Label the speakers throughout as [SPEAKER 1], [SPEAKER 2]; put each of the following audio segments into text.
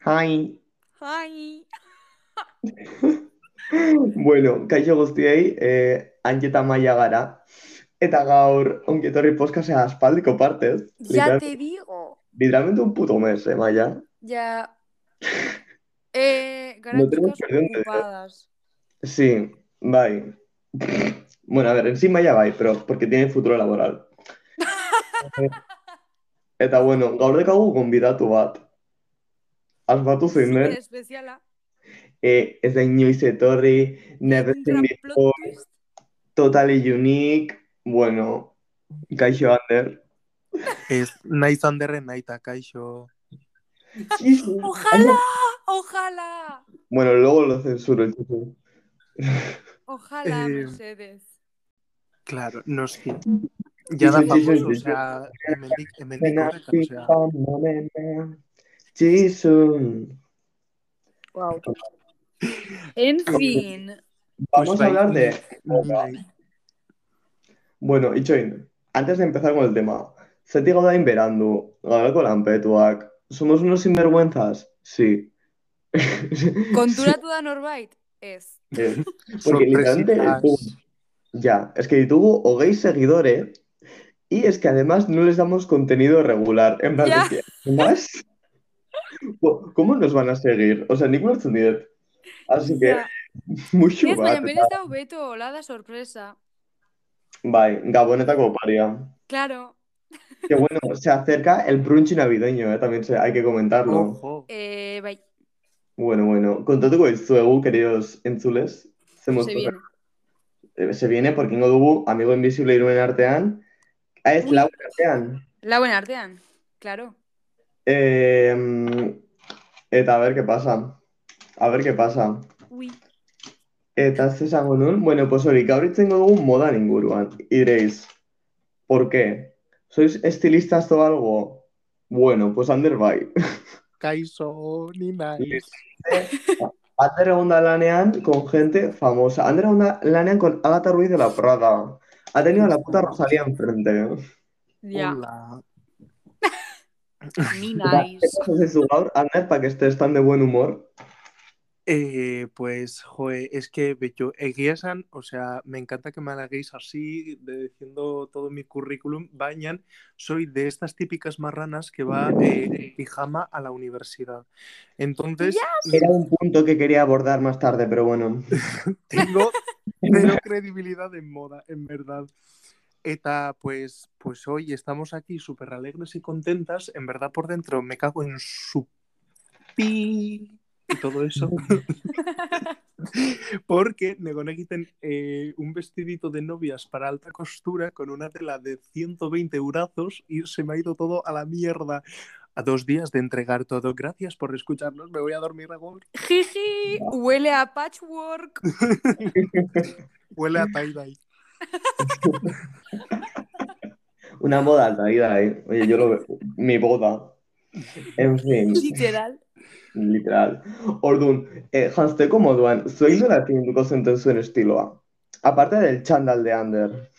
[SPEAKER 1] はい。
[SPEAKER 2] はい。
[SPEAKER 1] Bueno, kaixo guztiei, eh, Angeta Maia gara. Eta gaur, ongetorri poskasea aspaldiko partez.
[SPEAKER 2] Ya te digo.
[SPEAKER 1] Literalmente un puto mes, eh, Maia.
[SPEAKER 2] Ya. Eh, gran
[SPEAKER 1] No tenemos
[SPEAKER 2] chicas
[SPEAKER 1] perdón, te digo.
[SPEAKER 2] ocupadas.
[SPEAKER 1] Sí, bai. Bueno, a ver, en sí Maia bai, pero porque tiene futuro laboral. Eta bueno, gaur dekagu gonbidatu bat. Asmatu zein den.
[SPEAKER 2] Super especiala.
[SPEAKER 1] Eh, ez da inoiz etorri, never
[SPEAKER 2] Un
[SPEAKER 1] seen
[SPEAKER 2] gran
[SPEAKER 1] before,
[SPEAKER 2] plot twist.
[SPEAKER 1] totally unique. Bueno, kaixo Ander.
[SPEAKER 3] Ez, naiz handerren naita, kaixo.
[SPEAKER 2] Ojalá, ojalá,
[SPEAKER 1] Bueno, luego lo censuro. el chiste.
[SPEAKER 2] ojalá,
[SPEAKER 3] Eh,
[SPEAKER 2] Mercedes.
[SPEAKER 3] Claro, noski.
[SPEAKER 1] Sí,
[SPEAKER 3] Ja da
[SPEAKER 1] sí, sí,
[SPEAKER 3] famoso,
[SPEAKER 1] sí, sí.
[SPEAKER 3] osea, emendik, emendik horretan, osea.
[SPEAKER 1] Jason.
[SPEAKER 2] Wow. En fin,
[SPEAKER 1] Vamos
[SPEAKER 3] Pues
[SPEAKER 1] a
[SPEAKER 3] bai,
[SPEAKER 1] hablar de...
[SPEAKER 3] ni- bai.
[SPEAKER 1] Bueno, Itxoin, antes de empezar con el tema, Zeti gauda inberandu, gaurko lanpetuak, ¿somos unos sinvergüenzas? Sí.
[SPEAKER 2] konturatu da norbait? Ez.
[SPEAKER 1] Eh, Porque literalmente
[SPEAKER 3] Sorpresitas.
[SPEAKER 1] ditugu- ya, es que tuvo hogei seguidores y es que además no les damos contenido regular. En plan,
[SPEAKER 2] Ya.
[SPEAKER 1] es que, ¿más? Co- ¿Cómo nos van a seguir? O sea, nik ulertzen diet. Así que, ¿eh?
[SPEAKER 2] Ja.
[SPEAKER 1] mucho
[SPEAKER 2] Ez, baina
[SPEAKER 1] bat.
[SPEAKER 2] berez da hobeto, hola da sorpresa.
[SPEAKER 1] Bai, gabonetako oparia.
[SPEAKER 2] Claro,
[SPEAKER 1] Que bueno, se acerca el brunch navideño, eh, también se- hay que comentarlo.
[SPEAKER 3] Ojo.
[SPEAKER 2] eh, bai,
[SPEAKER 1] Bueno, bueno, kontatuko dizuegu, queridos entzules. Ze
[SPEAKER 2] se
[SPEAKER 1] moztu-
[SPEAKER 2] viene.
[SPEAKER 1] Eh, se viene, porque ingo dugu, amigo invisible iruen artean, Ah, ez,
[SPEAKER 2] Ui.
[SPEAKER 1] lauen artean.
[SPEAKER 2] Lauen artean, claro.
[SPEAKER 1] Eh, eta a ver qué pasa. A ver qué pasa.
[SPEAKER 2] Ui,
[SPEAKER 1] Eta ze esango nun, bueno, pues hori, gaur hitz egingo dugu modan inguruan. Y diréis, ¿por qué? ¿Sois estilistas o algo? Bueno, pues Ander bai.
[SPEAKER 3] Kaixo, ni naiz.
[SPEAKER 1] Ander egon da lanean con gente famosa. Ander egon da lanean con Agatha Ruiz de la Prada. Ha tenido a la puta Rosalía enfrente.
[SPEAKER 2] ya,
[SPEAKER 3] Hola.
[SPEAKER 2] ni
[SPEAKER 1] Eta,
[SPEAKER 2] naiz.
[SPEAKER 1] Eta zazu gaur, Ander, para que estés tan de buen humor.
[SPEAKER 3] Eh, pues, joe, es que, bello, egia esan, osea, me encanta que me halaguéis así, de- diciendo todo mi currículum, bañan, soy de estas típicas marranas que va eh, en pijama a la universidad. Entonces,
[SPEAKER 1] Era un punto que quería abordar más tarde, pero bueno.
[SPEAKER 3] tengo cero credibilidad en moda, en verdad. Eta, pues, pues hoy estamos aquí súper alegres y contentas. En verdad, por dentro me cago en su pi y todo eso. Porque Negonegiten eh, un vestidito de novias para alta costura con una tela de 120 eurazos y se me ha ido todo a la mierda. A dos días de entregar todo. Gracias por escucharnos. Me voy a dormir ahora.
[SPEAKER 2] Jiji, huele a patchwork.
[SPEAKER 3] Huele a tie-dye.
[SPEAKER 1] Una moda alta vida ahí. ¿eh? Oye, yo lo veo. Mi boda. En fin,
[SPEAKER 2] Literal.
[SPEAKER 1] literal. Ordun, eh, jantzteko moduan, zuei nola tinduko zenten zuen estiloa? Aparte del chándal de Ander.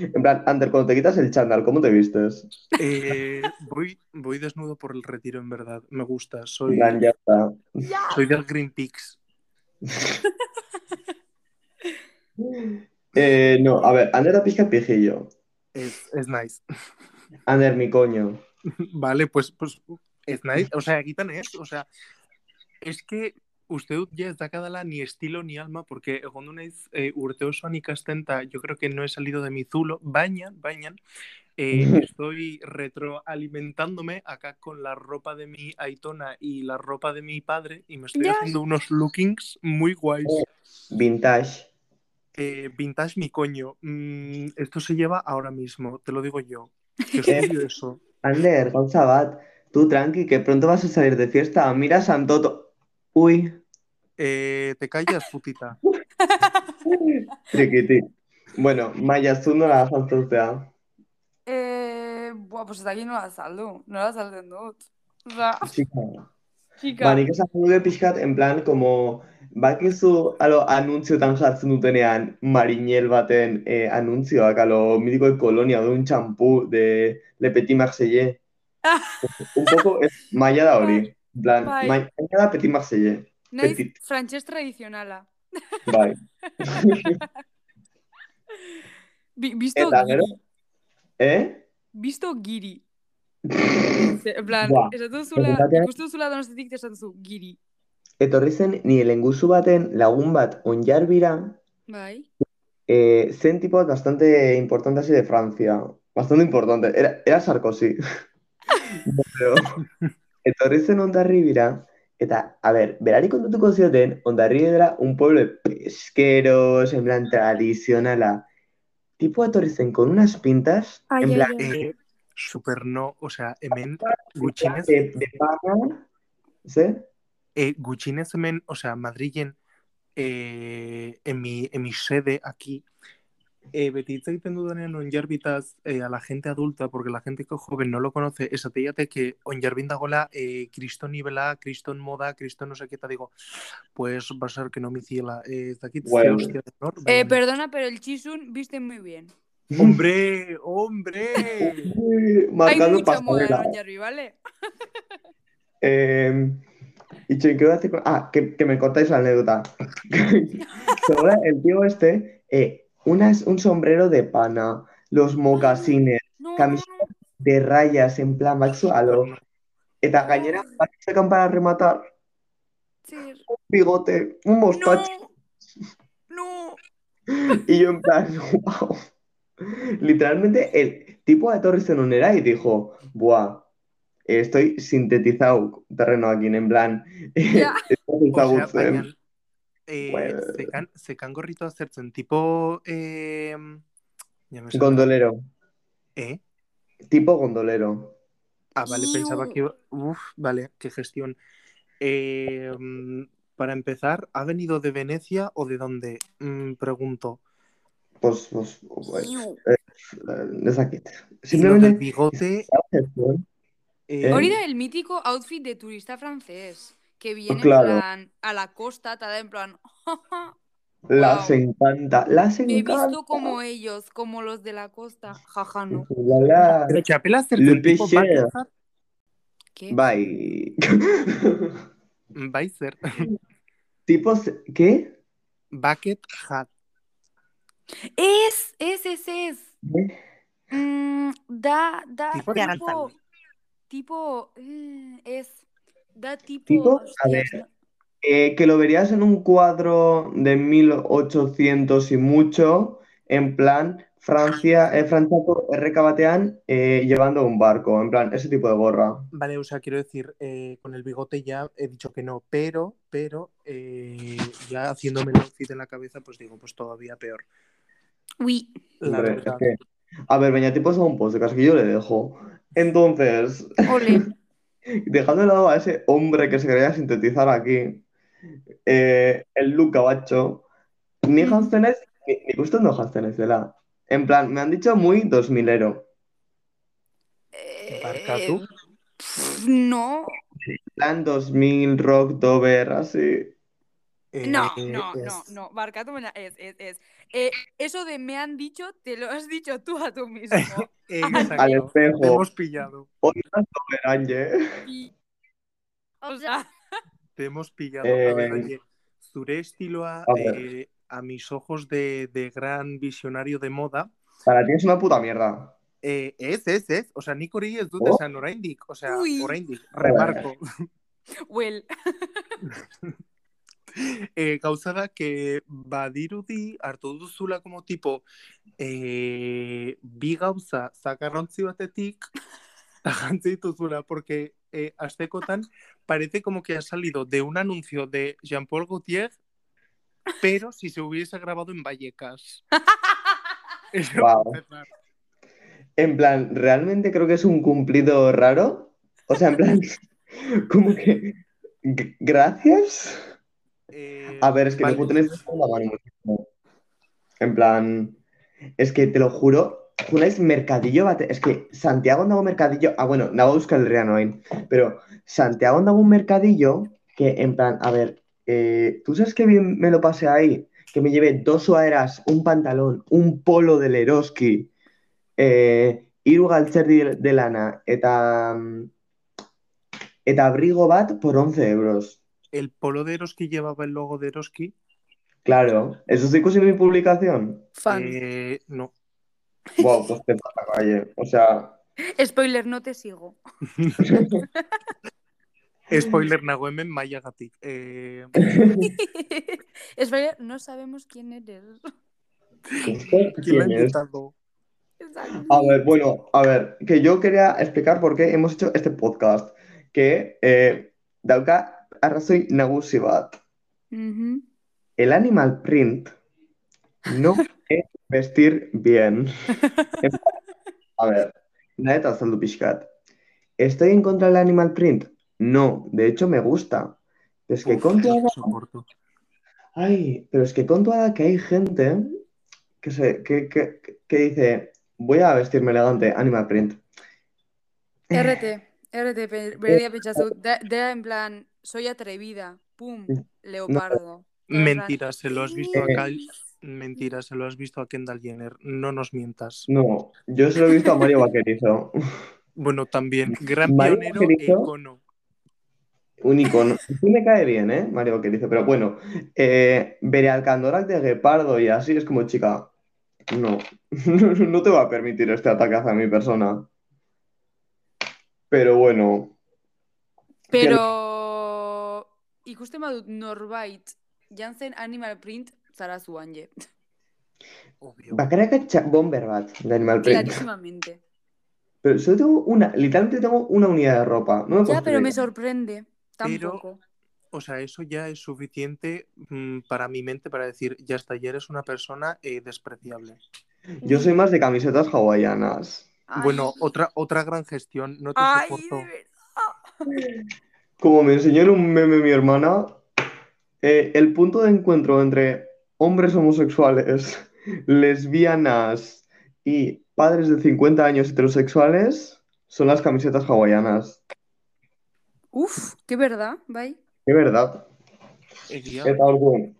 [SPEAKER 1] En plan, Ander, cuando te quitas el chándal, ¿cómo te vistes?
[SPEAKER 3] Eh, voy, voy desnudo por el retiro, en verdad. Me gusta.
[SPEAKER 1] En
[SPEAKER 3] Soy,
[SPEAKER 1] plan, ya está.
[SPEAKER 2] Ya.
[SPEAKER 3] soy del Green Peaks.
[SPEAKER 1] Eh, no, a ver, Ander da pija pijillo.
[SPEAKER 3] Es, es nice.
[SPEAKER 1] Ander, mi coño.
[SPEAKER 3] Vale, pues, pues es nice. O sea, quitan eso. O sea, es que usted ya está cada ni estilo ni alma, porque cuando una es eh, urte osoan ikastenta, yo creo que no he salido de mi zulo. Bañan, bañan. Eh, estoy retroalimentándome acá con la ropa de mi Aitona y la ropa de mi padre y me estoy
[SPEAKER 2] Ya.
[SPEAKER 3] haciendo unos lookings muy guays.
[SPEAKER 1] Vintage.
[SPEAKER 3] Eh, vintage mi coño. Mm, esto se lleva ahora mismo, te lo digo yo. Que estudio eso.
[SPEAKER 1] Ander, gauza bat, tú tranqui, que pronto vas a salir de fiesta. Mira Santoto. Uy.
[SPEAKER 3] Eh, te callas, putita.
[SPEAKER 1] Triquiti. Bueno, Maya, zu nola azaltzea.
[SPEAKER 2] Eh, buah, pues eta aquí nola azaldu, nola azaltzen dut. Osa, txika.
[SPEAKER 1] Ba, nik esan duke pixkat, en plan, como, bakizu, alo, anuntziotan jartzen dutenean, marinel baten eh, anuntzioak, alo, mitiko de kolonia, de un champú, de Le Petit Marseillais. Un poco es maia da hori. En plan,
[SPEAKER 2] Bai.
[SPEAKER 1] maia da petit marselle.
[SPEAKER 2] Naiz
[SPEAKER 1] Petit.
[SPEAKER 2] frantses tradizionala.
[SPEAKER 1] Bai.
[SPEAKER 2] Bi, bizto,
[SPEAKER 1] Eta gero, eh?
[SPEAKER 2] bizto giri. Ze- En plan,
[SPEAKER 1] Ba,
[SPEAKER 2] esatu zula,
[SPEAKER 1] errealitatea-
[SPEAKER 2] ikustu zula donostetik eta esatu zu, giri.
[SPEAKER 1] Etorri zen nire lenguzu baten lagun bat onjarbira,
[SPEAKER 2] Bai.
[SPEAKER 1] eh, zen tipo bat bastante importante así de Francia. Bastante importante. Era, era Sarkozy. Pero, etorri zen ondarribira, eta, a ver, berari kontatuko zioten, ondarribira un pueblo de pesqueros, en plan tradicionala. Tipo etorri zen con unas pintas,
[SPEAKER 2] Ai,
[SPEAKER 1] en
[SPEAKER 2] ai,
[SPEAKER 1] plan,
[SPEAKER 2] ai.
[SPEAKER 3] Eh, super no, osea, hemen gutxinez,
[SPEAKER 1] de, de pana, ¿sí?
[SPEAKER 3] eh, gutxinez hemen, osea, Madrilen, eh, en, mi, en mi sede aquí, eh, beti hitz egiten dudanean onjarbitaz eh, a la gente adulta, porque la gente que joven no lo conoce, esateiate que onjarbin dagola eh, kriston nivela, kriston moda, kriston no sé qué, eta digo, pues va a ser que no me hiciela, eh, ez dakit, ze
[SPEAKER 1] Bueno.
[SPEAKER 3] hostia de nor,
[SPEAKER 2] Eh,
[SPEAKER 3] baina-
[SPEAKER 2] perdona, pero el chisun viste muy bien.
[SPEAKER 3] Hombre, hombre.
[SPEAKER 1] Uy,
[SPEAKER 2] Hay
[SPEAKER 1] marcando
[SPEAKER 2] mucha moda en
[SPEAKER 1] pasarela.
[SPEAKER 2] Ondarri, ¿vale?
[SPEAKER 1] Eh, y che, ¿qué voy a hacer con- Ah, que, que me contáis la anécdota. Ahora el tío este, eh, una es un sombrero de pana, los mocasines
[SPEAKER 2] No, no,
[SPEAKER 1] Camis- de rayas en plan Max Alo, eta gainera batzuk sacan para rematar
[SPEAKER 2] no,
[SPEAKER 1] un bigote, un mostacho,
[SPEAKER 2] no,
[SPEAKER 1] y yo en plan, wow. Literalmente el tipo de Torres en y dijo, buah, eh, estoy sintetizado terreno aquí, en plan,
[SPEAKER 2] Ya.
[SPEAKER 1] estoy
[SPEAKER 3] Osea,
[SPEAKER 1] ezagutzen.
[SPEAKER 3] baina, eh,
[SPEAKER 1] Bueno.
[SPEAKER 3] zekan, zekan gorritua zertzen, tipo, eh, ja me suena.
[SPEAKER 1] Gondolero,
[SPEAKER 3] eh?
[SPEAKER 1] tipo gondolero.
[SPEAKER 3] Ah, vale,
[SPEAKER 2] Iu.
[SPEAKER 3] pensaba que, iba- uf, vale, qué gestión. Eh, mm, para empezar, ¿ha venido de Venecia o de dónde? Mm, pregunto.
[SPEAKER 1] Pues, pues, pues,
[SPEAKER 2] Iu.
[SPEAKER 1] eh, nezakit.
[SPEAKER 3] Y lo del
[SPEAKER 1] Simplemente,
[SPEAKER 3] bigote, eh,
[SPEAKER 1] Eh.
[SPEAKER 2] Hori da el mítico outfit de turista francés, que viene
[SPEAKER 1] Claro.
[SPEAKER 2] en plan a la costa, tal, en plan,
[SPEAKER 1] las
[SPEAKER 2] Wow.
[SPEAKER 1] encanta, las
[SPEAKER 2] me he
[SPEAKER 1] encanta.
[SPEAKER 2] visto como ellos, como los de la costa, jaja, no,
[SPEAKER 1] Ulala.
[SPEAKER 3] pero que apela zertzen,
[SPEAKER 1] Le
[SPEAKER 3] tipo,
[SPEAKER 1] Pêcheur.
[SPEAKER 3] Balthazar,
[SPEAKER 2] ¿qué?
[SPEAKER 1] Bai.
[SPEAKER 3] bai zer,
[SPEAKER 1] Tipos, pues, ¿qué?
[SPEAKER 3] bucket hat.
[SPEAKER 2] Es, es, es, es,
[SPEAKER 1] ¿Eh?
[SPEAKER 2] Mm, da, da,
[SPEAKER 3] Tipo de
[SPEAKER 2] tipo,
[SPEAKER 3] Aranzal.
[SPEAKER 2] tipo, mm, es, da tipo,
[SPEAKER 1] Tipo, a
[SPEAKER 2] hostias,
[SPEAKER 1] ver,
[SPEAKER 2] no-
[SPEAKER 1] Eh, que lo verías en un cuadro de 1800 y mucho, en plan Francia,
[SPEAKER 2] Ah.
[SPEAKER 1] eh, Frantziako erreka batean eh, llevando un barco, en plan ese tipo de gorra.
[SPEAKER 3] Vale, o sea, quiero decir, eh, con el bigote ya he dicho que no, pero, pero, eh, ya haciéndome el outfit en la cabeza, pues digo, pues todavía peor.
[SPEAKER 2] uy,
[SPEAKER 3] La
[SPEAKER 1] Hombre,
[SPEAKER 3] verdad.
[SPEAKER 1] es que- A ver, Beña, tipos a un post, casi que yo le dejo. Entonces,
[SPEAKER 2] ole,
[SPEAKER 1] dejando de lado a ese hombre que se quería sintetizar aquí, eh, el look gabacho, ni
[SPEAKER 2] Ujú.
[SPEAKER 1] Hansenes, ni, ni gusto no Hansenes, ¿verdad? En plan, me han dicho muy 2000ero.
[SPEAKER 3] Barkatu.
[SPEAKER 2] Eh, pf, no,
[SPEAKER 1] En plan 2000, rock, dover, así.
[SPEAKER 3] Eh,
[SPEAKER 2] No, no,
[SPEAKER 3] es-
[SPEAKER 2] no, no, barcatu, baina ez, ez, ez. Eh, eso de me han dicho, te lo has dicho tú a tú mismo.
[SPEAKER 3] Eh,
[SPEAKER 2] Al
[SPEAKER 1] Al
[SPEAKER 3] exacto, te
[SPEAKER 1] espejo.
[SPEAKER 3] hemos pillado,
[SPEAKER 1] Hoy más dover, ¿eh?
[SPEAKER 2] Y-
[SPEAKER 3] Pues,
[SPEAKER 2] O sea,
[SPEAKER 3] ah, te hemos pillado.
[SPEAKER 1] Eh,
[SPEAKER 3] a ver, oye, zure estiloa,
[SPEAKER 1] a ver.
[SPEAKER 3] eh, a mis ojos de, de gran visionario de moda,
[SPEAKER 1] Para ti es una puta mierda.
[SPEAKER 3] eh, es, es, es, o sea, nik hori ez dut
[SPEAKER 1] Oh.
[SPEAKER 3] esan oraindik, o sea,
[SPEAKER 2] Ui.
[SPEAKER 3] oraindik, remarko.
[SPEAKER 2] well,
[SPEAKER 3] E, gauza da, que badirudi hartu duzula como tipo e, bi gauza zakarrontzi batetik eta jantzi dituzula, porque e, astekotan parece como que ha salido de un anuncio de Jean-Paul Gaultier, pero si se hubiese grabado en Vallecas. Eso para
[SPEAKER 1] Wow.
[SPEAKER 3] empezar.
[SPEAKER 1] En plan, realmente creo que es un cumplido raro. O sea, en plan, como que. g- Gracias.
[SPEAKER 3] Eh,
[SPEAKER 1] A ver, es que me
[SPEAKER 3] vale.
[SPEAKER 1] puto la mano muchísimo. En plan, es que te lo juro, juráis mercadillo bate- Es que Santiago dago mercadillo. Ah, bueno, nago Euskal Herrian orain. Pero Santiago dago un mercadillo que, en plan, a ver, eh, ¿tú sabes qué bien me lo pasé ahí? Que me llevé dos suaderas, un pantalón, un polo del Eroski, eh, hiru galtzerdi delana eta mm, eta abrigo bat por 11 euros.
[SPEAKER 3] El polo de Eroski llevaba el logo de Eroski.
[SPEAKER 1] Claro, ¿eso sí que mi publicación?
[SPEAKER 2] Fan.
[SPEAKER 3] Eh, no.
[SPEAKER 1] Wow, pues te pasa, calle. O sea,
[SPEAKER 2] Spoiler, no te sigo.
[SPEAKER 3] Spoiler nagoemen mailagatik. Eh,
[SPEAKER 2] Spoiler, no sabemos quién eres.
[SPEAKER 1] ¿esto
[SPEAKER 3] ¿Quién la ha
[SPEAKER 1] quién es?
[SPEAKER 3] inventado?
[SPEAKER 2] Exacto.
[SPEAKER 1] A ver, bueno, a ver, que yo quería explicar por qué hemos hecho este podcast. Que eh, dauka arrazoi nagusi bat.
[SPEAKER 2] Ujú.
[SPEAKER 1] El animal print no es vestir bien. A ver, nada de azaldu pixkat. ¿Estoy en contra del animal print? No, de hecho me gusta. Pero es que
[SPEAKER 3] Uf,
[SPEAKER 1] contra
[SPEAKER 3] no soporto.
[SPEAKER 1] Ay, pero es que con toda la que hay gente que, se, que, que, que dice, voy a vestirme elegante, animal print.
[SPEAKER 2] RT, RT,
[SPEAKER 1] Eh,
[SPEAKER 2] pe- berria pentsatu. Da, da en plan, soy atrevida, pum, leopardo.
[SPEAKER 3] Mentira, se lo has visto a
[SPEAKER 1] Eh.
[SPEAKER 3] Kyle. Mentira, se lo has visto a Kendall Jenner. No nos mientas.
[SPEAKER 1] No, yo se lo he visto a Mario Vaquerizo,
[SPEAKER 3] Bueno, también, gran
[SPEAKER 1] Mario
[SPEAKER 3] pionero e
[SPEAKER 1] Vaquerizo.
[SPEAKER 3] icono.
[SPEAKER 1] un icono. Sí me cae bien, ¿eh? Mario Vaquerizo, pero bueno, eh, veré al Candorac de Guepardo y así es como, chica, no, no te va a permitir este ataque hacia mi persona. Pero bueno,
[SPEAKER 2] Pero ikusten badut norbait, jantzen animal print, zara zuan je.
[SPEAKER 3] Obvio.
[SPEAKER 1] bakarrik txa- bomber bat de animal print.
[SPEAKER 2] Clarísimamente.
[SPEAKER 1] Pero solo tengo una, literalmente tengo una unidad de ropa. No me
[SPEAKER 2] Ya,
[SPEAKER 1] puedo
[SPEAKER 2] pero me
[SPEAKER 1] creer.
[SPEAKER 2] sorprende. Tampoco.
[SPEAKER 3] O sea, eso ya es suficiente mm, para mi mente para decir, ya está, ya eres una persona eh, despreciable.
[SPEAKER 1] Yo soy más de camisetas hawaianas.
[SPEAKER 2] Ay,
[SPEAKER 3] Bueno, otra, otra gran gestión, no te
[SPEAKER 2] ay,
[SPEAKER 3] soporto.
[SPEAKER 2] de verdad.
[SPEAKER 1] Como me enseñó en un meme mi hermana, eh, el punto de encuentro entre hombres homosexuales, lesbianas y padres de 50 años heterosexuales son las camisetas hawaianas.
[SPEAKER 2] Uf, qué verdad, bai.
[SPEAKER 1] De verdad.
[SPEAKER 3] Egia.
[SPEAKER 1] Eta orduan,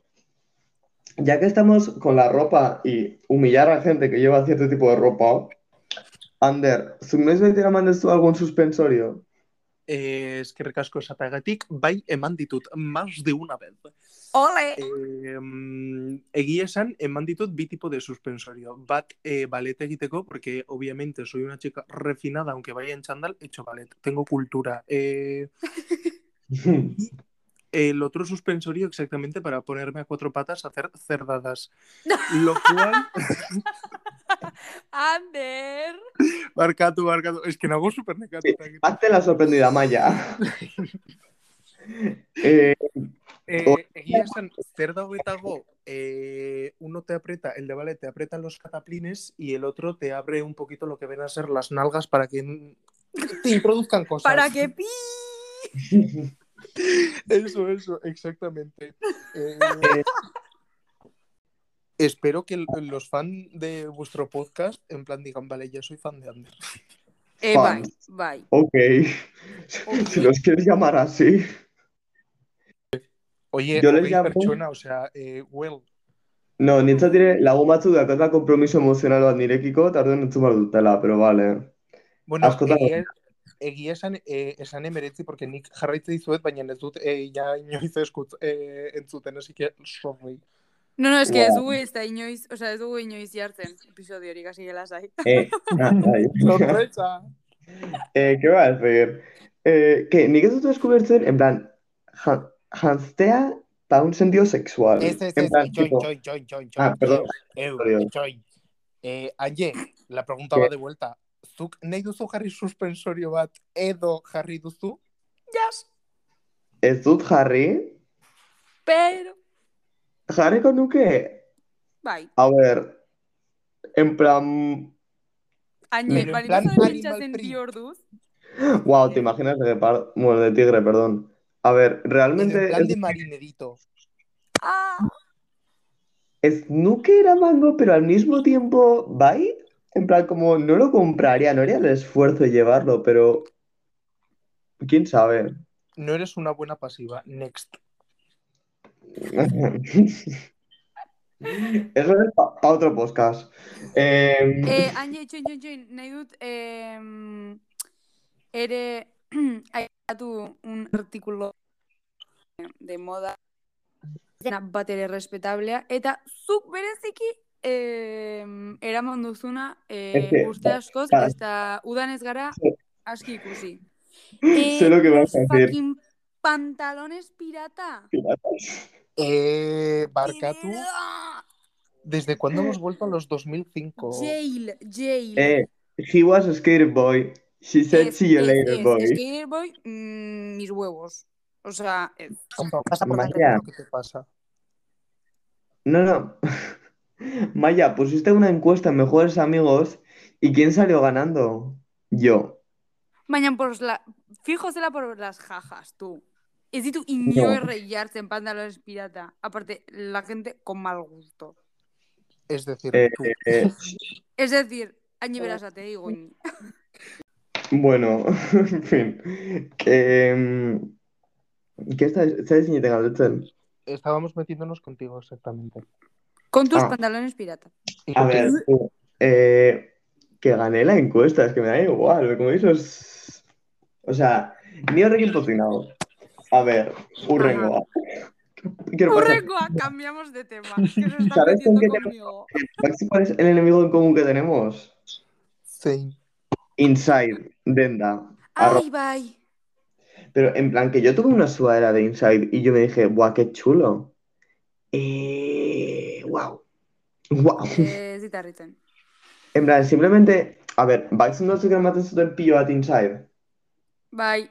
[SPEAKER 1] ya que estamos con la ropa y humillar a gente que lleva cierto tipo de ropa, Ander, ¿su mes baitera mandes tú algún suspensorio?
[SPEAKER 3] Eh, eskerrik asko esatagatik, bai eman ditut, más de una vez.
[SPEAKER 2] Ole!
[SPEAKER 3] Eh, mm, egia esan, eman ditut bi tipo de suspensorio. Bat, eh, ballet egiteko, porque obviamente soy una chica refinada, aunque vaya en chándal, he hecho ballet. Tengo cultura. Eh, el otro suspensorio exactamente para ponerme a cuatro patas a hacer cerdadas. Lo cual...
[SPEAKER 2] Ander!
[SPEAKER 3] barkatu, barkatu. Es que nago super
[SPEAKER 1] Hazte la sorprendida, Maya. Eh,
[SPEAKER 3] Eh, egia esan, zer dagoetago, eh, uno te aprieta, el de ballet te aprieta los cataplines y el otro te abre un poquito lo que ven a ser las nalgas para que te introduzcan cosas.
[SPEAKER 2] Para que pi.
[SPEAKER 3] Eso, eso, exactamente. Eh, espero que los fans de vuestro podcast, en plan, digan, vale, ya soy fan de Ander.
[SPEAKER 2] Eh, bai,
[SPEAKER 1] Fans.
[SPEAKER 2] bai.
[SPEAKER 1] ok. Si los quieres llamar así.
[SPEAKER 3] Oye,
[SPEAKER 1] Yo les
[SPEAKER 3] hogei
[SPEAKER 1] llamo-
[SPEAKER 3] pertsona, o sea, eh, well,
[SPEAKER 1] No, nintzat dire lagun batzuk dakota kompromiso emozional bat nirekiko, eta orduan entzun behar dutela, pero vale.
[SPEAKER 3] Bueno,
[SPEAKER 1] Askotan-
[SPEAKER 3] egia, egia esan, eh, esan emeretzi, porque nik jarraitze dizuet, baina ez dut eh, ja inoiz eskut eh, entzuten, así que sorry.
[SPEAKER 2] No, no, es que
[SPEAKER 1] Wow.
[SPEAKER 2] ez dugu ez da inoiz, o sea, ez dugu inoiz jartzen episodio hori kasi gela zai.
[SPEAKER 1] Eh, ah, bai.
[SPEAKER 3] Sorpresa!
[SPEAKER 1] Eh, ¿qué va a decir? Eh, que nik ez dut eskubertzen, en plan, jan- janztea da un sentido sexual.
[SPEAKER 3] ez, ez,
[SPEAKER 1] en
[SPEAKER 3] ez,
[SPEAKER 1] plan,
[SPEAKER 3] join,
[SPEAKER 1] tipo,
[SPEAKER 3] join, join, join, join.
[SPEAKER 1] Ah, perdón.
[SPEAKER 3] Eu,
[SPEAKER 1] Sorry.
[SPEAKER 3] join. Eh, Aie, la pregunta va de vuelta. Zuk nahi duzu jarri suspensorio bat edo jarri duzu?
[SPEAKER 2] Jas,
[SPEAKER 1] ez dut jarri,
[SPEAKER 2] pero...
[SPEAKER 1] jarriko nuke,
[SPEAKER 2] Bai,
[SPEAKER 1] a ver, en plan,
[SPEAKER 2] Añe,
[SPEAKER 3] Pero en
[SPEAKER 2] bari
[SPEAKER 3] plan
[SPEAKER 2] duzu
[SPEAKER 3] animal
[SPEAKER 2] pentsatzen
[SPEAKER 3] print.
[SPEAKER 2] bi orduz.
[SPEAKER 1] wow,
[SPEAKER 3] Eh.
[SPEAKER 1] ¿te imaginas de, par- bueno, de tigre, perdón? A ver,
[SPEAKER 3] Edo
[SPEAKER 1] realmente
[SPEAKER 3] en plan
[SPEAKER 1] ez,
[SPEAKER 3] de marinerito.
[SPEAKER 2] Ah,
[SPEAKER 1] ez nuke eramango, pero al mismo tiempo, bai, en plan, como no lo compraría, no haría el esfuerzo de llevarlo, pero quién sabe.
[SPEAKER 3] No eres una buena pasiva. Next.
[SPEAKER 1] Eso es para otro podcast. Eh,
[SPEAKER 2] Eh, Angie, txoin, txoin, txoin, nahi dut, em, ere, aipatu un artikulo de moda dena bat ere respetablea, eta zuk bereziki em, eraman duzuna eh,
[SPEAKER 1] Eske,
[SPEAKER 2] urte askoz,
[SPEAKER 1] claro.
[SPEAKER 2] eta udan ez gara aski ikusi.
[SPEAKER 1] sé lo que
[SPEAKER 2] Eh,
[SPEAKER 1] vas a
[SPEAKER 2] los
[SPEAKER 1] decir.
[SPEAKER 2] fucking pantalones pirata.
[SPEAKER 3] Eh, barcatu,
[SPEAKER 2] Pirata.
[SPEAKER 3] ¿desde cuándo hemos vuelto a los 2005?
[SPEAKER 2] Jail, jail.
[SPEAKER 1] Eh, he was a skater boy. She said
[SPEAKER 2] Es-
[SPEAKER 1] see you
[SPEAKER 2] es-
[SPEAKER 1] later,
[SPEAKER 2] es-
[SPEAKER 1] boy.
[SPEAKER 2] Skater Boy, mm, mis huevos. O sea, eh,
[SPEAKER 3] Compa, pasa por
[SPEAKER 1] Vaya.
[SPEAKER 3] la lo que te pasa.
[SPEAKER 1] No, no. Maya, pusiste una encuesta en Mejores Amigos y ¿quién salió ganando? Yo.
[SPEAKER 2] baina por la, fijo zela por las jajas, tú. Ez ditu inorre jartzen pantalones pirata. Aparte, la gente con mal gusto.
[SPEAKER 3] Es decir,
[SPEAKER 1] Eh,
[SPEAKER 3] tú.
[SPEAKER 1] eh,
[SPEAKER 2] Es decir, añi berasa te digo. ñi.
[SPEAKER 1] bueno, en fin. Que, mm, ¿Qué estás estás sin llegar,
[SPEAKER 3] Estábamos metiéndonos contigo exactamente.
[SPEAKER 2] Con tus
[SPEAKER 1] Ah.
[SPEAKER 2] pantalones pirata.
[SPEAKER 3] Y
[SPEAKER 1] A
[SPEAKER 3] contigo.
[SPEAKER 1] ver, tú, eh, que gané la encuesta, es que me da igual, como eso es... O sea, ni horrekin potinado. A ver, urrengoa. Quiero pasar.
[SPEAKER 2] Urrekoa, cambiamos de tema. Que se está
[SPEAKER 1] ¿Sabes con
[SPEAKER 2] metiendo
[SPEAKER 1] qué tema?
[SPEAKER 2] conmigo.
[SPEAKER 1] ¿Sabes ¿Cuál es el enemigo en común que tenemos?
[SPEAKER 3] Sí.
[SPEAKER 1] Inside, Denda. Arro-
[SPEAKER 2] Ay, bye.
[SPEAKER 1] Pero en plan, que yo tuve una sudadera de Inside y yo me dije, guau, qué chulo. Eh, wow. Wow.
[SPEAKER 2] Eh, Ez dit harritzen.
[SPEAKER 1] En plan, simplemente, a ver, Bax no sé qué maten zuten pilo at Inside.
[SPEAKER 2] Bye,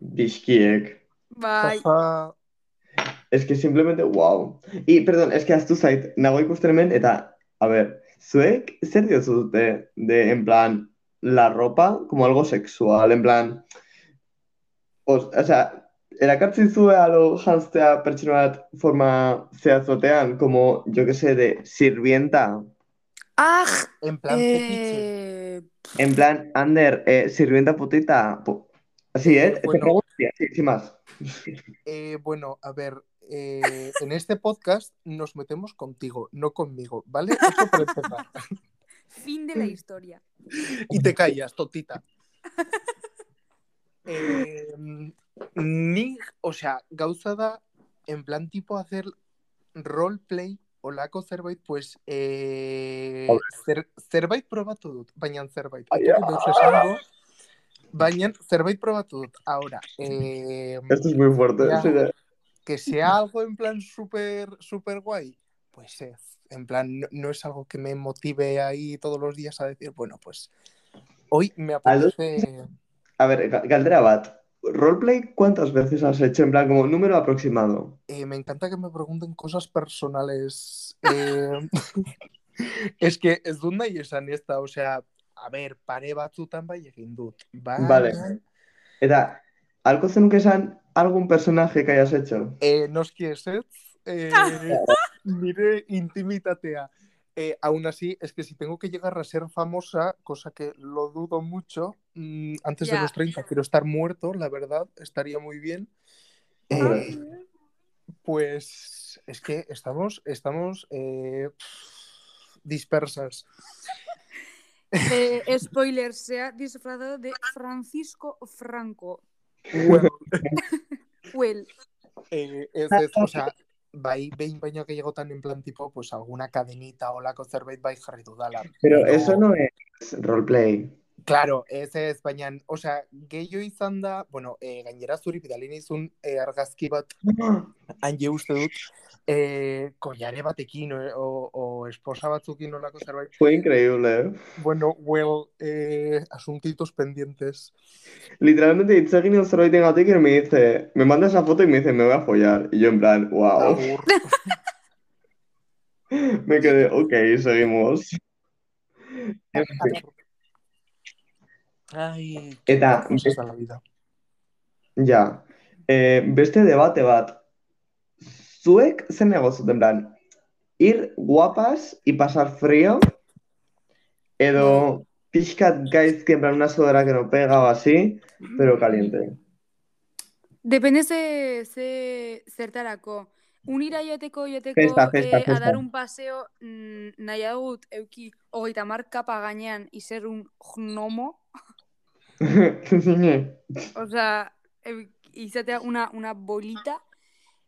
[SPEAKER 1] Bizkiek.
[SPEAKER 2] bye.
[SPEAKER 3] Jaja.
[SPEAKER 1] Es que simplemente, wow. Y, perdón, es que astu zait, nago ikusten hemen, eta, a ver, zuek zer diozu dute de, en plan, la ropa como algo sexual, en plan, os, o sea, erakatzi zue alo janztea pertsona bat forma zehazotean, como, yo que sé, de sirvienta,
[SPEAKER 2] Ah,
[SPEAKER 3] En plan fetiche.
[SPEAKER 2] eh,
[SPEAKER 1] en plan, Ander, eh, sirvienta putita, pu- así, ¿eh? Te
[SPEAKER 3] Bueno. Mm.
[SPEAKER 1] pregunto, sí, sin más.
[SPEAKER 3] Eh, bueno, a ver, eh, en este podcast nos metemos contigo, no conmigo, ¿vale? Eso para empezar.
[SPEAKER 2] fin de la
[SPEAKER 1] Mm.
[SPEAKER 2] historia.
[SPEAKER 3] Y te callas, totita. Eh, ni, o sea, gauza da, en plan tipo hacer roleplay, olako zerbait, pues, eh, zer, zerbait probatu dut, baina zerbait.
[SPEAKER 1] Ai,
[SPEAKER 3] Etorri deus esango, baina zerbait probatu dut. Ahora, eh,
[SPEAKER 1] Esto es muy fuerte.
[SPEAKER 3] Ya.
[SPEAKER 1] sí, ya.
[SPEAKER 3] que sea algo en plan súper, súper guay, pues eh, en plan, no, no es algo que me motive ahí todos los días a decir, bueno, pues hoy me
[SPEAKER 1] Aldo-
[SPEAKER 3] apetece...
[SPEAKER 1] A ver, Ga- Galdera Bat, ¿roleplay cuántas veces has hecho? En plan, como número aproximado.
[SPEAKER 3] Eh, me encanta que me pregunten cosas personales. Eh, es que ez dut nahi esan ez da, o sea, a ver, pare batzutan bai egin dut. Baina,
[SPEAKER 1] Vale. Era, ¿algo zenuk esan algún personaje que hayas hecho?
[SPEAKER 3] Eh, noski ezetz, eh, nire intimitatea. Eh, aún así, es que si tengo que llegar a ser famosa, cosa que lo dudo mucho, mm, antes
[SPEAKER 2] Ya.
[SPEAKER 3] de los 30 quiero estar muerto, la verdad, estaría muy bien. Eh,
[SPEAKER 1] Hombre.
[SPEAKER 3] pues es que estamos, estamos eh, dispersas.
[SPEAKER 2] Eh, spoiler, se ha disfrazado de Francisco Franco.
[SPEAKER 3] Bueno,
[SPEAKER 2] Well,
[SPEAKER 3] eh, ez, ez, o sea, bai, behin baino gehiagotan en plan tipo, pues alguna cadenita o la zerbait bai jarri dudala.
[SPEAKER 1] Pero
[SPEAKER 3] Pero-
[SPEAKER 1] eso no es roleplay.
[SPEAKER 3] Claro, ez ez, baina, osea, gehiago izan da, bueno, e, gainera zuri bidali nizun e, argazki bat, hanje uste dut, e, koiare batekin, o, eh, o, o esposa batzukin olako zerbait.
[SPEAKER 1] Fue increíble. ¿eh?
[SPEAKER 3] Bueno, well, e, asuntitos pendientes.
[SPEAKER 1] Literalmente, Itzegin el Zeroid en Gatik y me dice, me manda esa foto y me dice, me voy a follar. Y yo en plan, wow.
[SPEAKER 3] Agur.
[SPEAKER 1] Me quedé, ok, seguimos. En fin.
[SPEAKER 3] Ai,
[SPEAKER 1] Eta,
[SPEAKER 3] cosas de la vida.
[SPEAKER 1] Ja. Eh, beste debate bat. Zuek zen negozuten en plan, ir guapas y pasar frío, edo pixkat gaizki en plan una sudadera que no pega o así, pero caliente.
[SPEAKER 2] depende ze, ze zertarako. Unira joateko, joateko,
[SPEAKER 1] Festa, festa,
[SPEAKER 2] eh,
[SPEAKER 1] festa.
[SPEAKER 2] adarun paseo, mm, nahi dut, euki, hogeita markapa gainean izerun gnomo, Osea, euk- izatea una, una bolita,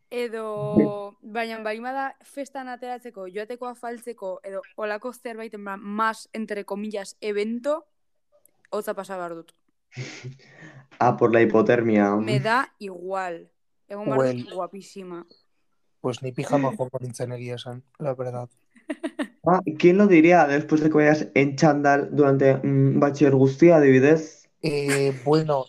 [SPEAKER 2] edo, baina barima da festan ateratzeko, joatekoa faltzeko, edo olako zerbait, en plan, mas, entre comillas, evento, hotza pasa behar dut.
[SPEAKER 1] ah, por la hipotermia.
[SPEAKER 2] Me da igual. Egon behar dut
[SPEAKER 3] Bueno.
[SPEAKER 2] guapísima.
[SPEAKER 3] Pues ni pijama joango nintzen egia esan, la verdad.
[SPEAKER 1] Ah, ¿quién lo diría después de que vayas en chándal durante mm, bachiller guztia, adibidez?
[SPEAKER 3] Eh, bueno,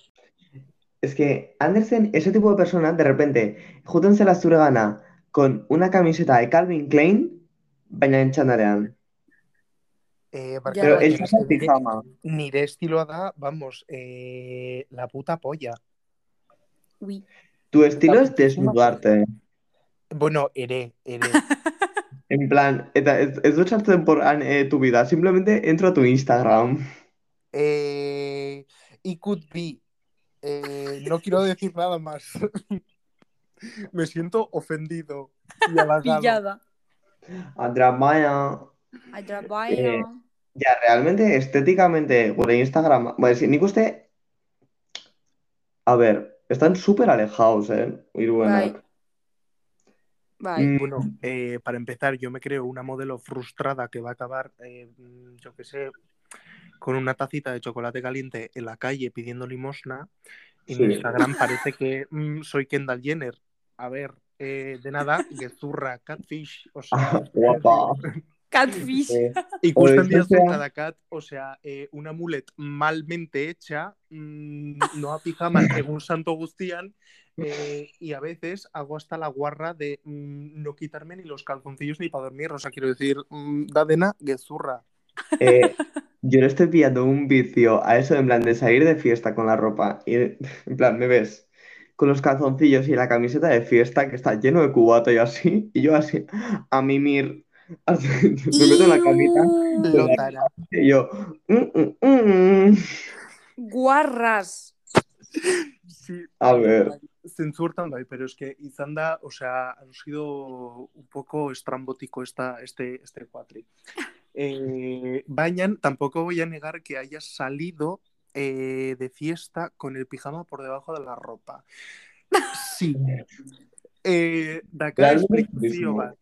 [SPEAKER 1] Es que Andersen, ese tipo de persona, de repente, jútense la zuregana con una camiseta de Calvin Klein, baina en txandalean.
[SPEAKER 3] eh,
[SPEAKER 1] Pero
[SPEAKER 3] barkatu,
[SPEAKER 1] el
[SPEAKER 3] baina
[SPEAKER 1] chándal
[SPEAKER 3] nire-
[SPEAKER 1] pijama.
[SPEAKER 3] nire estiloa da, vamos, eh, la puta polla.
[SPEAKER 2] Ui.
[SPEAKER 1] Tu estilo es desnudarte.
[SPEAKER 3] Bueno, ere, ere.
[SPEAKER 1] En plan, eta ez, ez dut sartzen por han, eh, tu vida, simplemente entro a tu Instagram.
[SPEAKER 3] Eh, it could be. Eh, no quiero decir nada más. Me siento ofendido y halagado.
[SPEAKER 2] Pillada.
[SPEAKER 1] Andra Maya. Eh,
[SPEAKER 2] Atrabaina.
[SPEAKER 1] Ya, realmente, estéticamente, gure Instagram, ba, ezin, nik uste, a ver, están súper alejados, eh, hiruenak.
[SPEAKER 2] Bai. Bai.
[SPEAKER 1] Mm,
[SPEAKER 3] Bueno, eh, para empezar, yo me creo una modelo frustrada que va a acabar, eh, mm, yo qué sé, con una tacita de chocolate caliente en la calle pidiendo limosna. En
[SPEAKER 1] Sí.
[SPEAKER 3] Instagram parece que mm, soy Kendall Jenner. A ver, eh, de nada, gezurra, catfish, o sea...
[SPEAKER 1] Ah, Guapa.
[SPEAKER 2] Catfish.
[SPEAKER 1] Eh,
[SPEAKER 3] Y
[SPEAKER 1] Por
[SPEAKER 3] cuestan días
[SPEAKER 1] ejemplo-
[SPEAKER 3] con cada cat, o sea, eh, una mulet malmente hecha, mm, no a pijama según Santo Agustían, eh, y a veces hago hasta la guarra de mm, no quitarme ni los calzoncillos ni para dormir, o sea, quiero decir, mm, dadena, gezurra.
[SPEAKER 1] eh, yo le estoy pillando un vicio a eso, en plan, de salir de fiesta con la ropa. Y, en plan, me ves con los calzoncillos y la camiseta de fiesta que está lleno de cubato y así, y yo así, a mimir. Así, me meto en la camita
[SPEAKER 2] Iu.
[SPEAKER 3] Lotara.
[SPEAKER 1] y yo, mm, mm, mm.
[SPEAKER 2] Guarras.
[SPEAKER 3] Sí,
[SPEAKER 1] A ver.
[SPEAKER 3] Censurtan bai, pero es que Izanda, o sea, han sido un poco estrambótico esta, este, este cuatri. Eh, Bañan, tampoco voy a negar que hayas salido eh, de fiesta con el pijama por debajo de la ropa. Sí. Eh, daka
[SPEAKER 1] Realmente
[SPEAKER 3] esplikazio
[SPEAKER 1] turismo.
[SPEAKER 3] bat.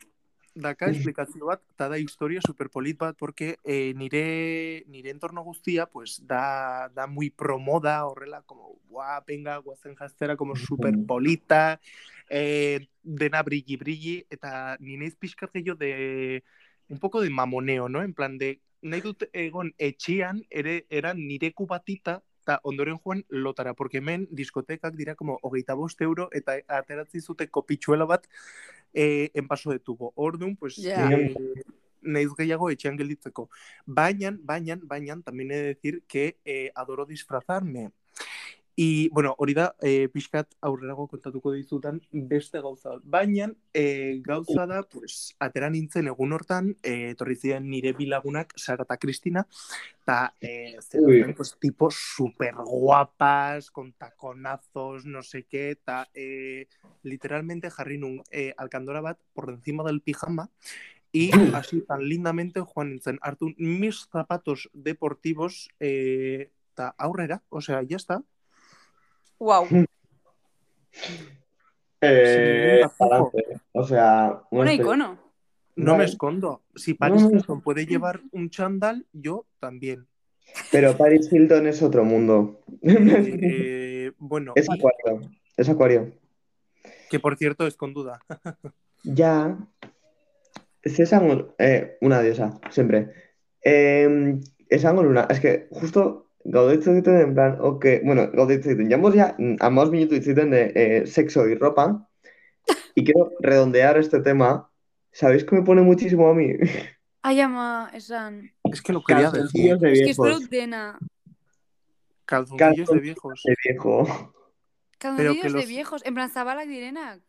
[SPEAKER 3] Daka esplikazio bat, eta da historia superpolit bat, porque eh, nire, nire entorno guztia, pues, da, da muy promoda, horrela, como, guau, venga, guazen jaztera, como superpolita, eh, dena brilli-brilli, eta nineiz pixkat gehiago de, un poco de mamoneo, ¿no? En plan de, nahi dut egon etxean, ere, era nire kubatita, eta ondoren joan lotara, porque hemen diskotekak dira como hogeita bost euro, eta ateratzi zute kopitxuela bat eh, enpaso de tubo. Orduan, pues,
[SPEAKER 2] Ja.
[SPEAKER 3] eh, naiz gehiago etxean gelditzeko. Baina, baina, baina, también he de decir que eh, adoro disfrazarme. Y, bueno, hori da, eh, pixkat aurrerago kontatuko dizutan beste gauza. bat. Baina, eh, gauza da, pues, atera nintzen egun hortan, eh, etorri ziren nire bilagunak, Sara eta Kristina, eta eh,
[SPEAKER 1] Ui.
[SPEAKER 3] zeuden, pues, tipo super guapas, con taconazos, no sé qué, eta eh, literalmente jarri nun eh, alkandora bat por encima del pijama, y así tan lindamente joan nintzen, hartu mis zapatos deportivos, eh, eta aurrera, o sea, ya está.
[SPEAKER 2] Wow.
[SPEAKER 1] Eh,
[SPEAKER 3] Sin ningún tapujo.
[SPEAKER 1] balance. O sea,
[SPEAKER 2] Bueno,
[SPEAKER 1] bueno,
[SPEAKER 2] icono.
[SPEAKER 3] No me
[SPEAKER 1] Vale.
[SPEAKER 3] escondo. Si Paris
[SPEAKER 1] No, no.
[SPEAKER 3] Hilton puede llevar un chándal, yo también.
[SPEAKER 1] pero Paris Hilton es otro mundo.
[SPEAKER 3] Eh, bueno,
[SPEAKER 1] Es
[SPEAKER 3] y-
[SPEAKER 1] acuario, es acuario.
[SPEAKER 3] que por cierto es con duda.
[SPEAKER 1] Ya. César, eh, una diosa, siempre. Eh, esango nuna, es que justo gaudetze egiten en plan, ok, bueno, gaudetze egiten, jamos ya, amaos minutu hitz egiten de eh, sexo y ropa, y quiero redondear este tema, ¿sabéis que me pone muchísimo a mí?
[SPEAKER 2] Ai, ama, esan.
[SPEAKER 3] Es que lo quería decir.
[SPEAKER 1] de
[SPEAKER 2] Es que espero
[SPEAKER 1] viejos,
[SPEAKER 2] dena.
[SPEAKER 3] Calzoncillos de viejos.
[SPEAKER 1] de viejo.
[SPEAKER 2] Calzoncillos
[SPEAKER 3] que
[SPEAKER 2] de
[SPEAKER 3] los-
[SPEAKER 2] viejos, en plan zabalak direnak.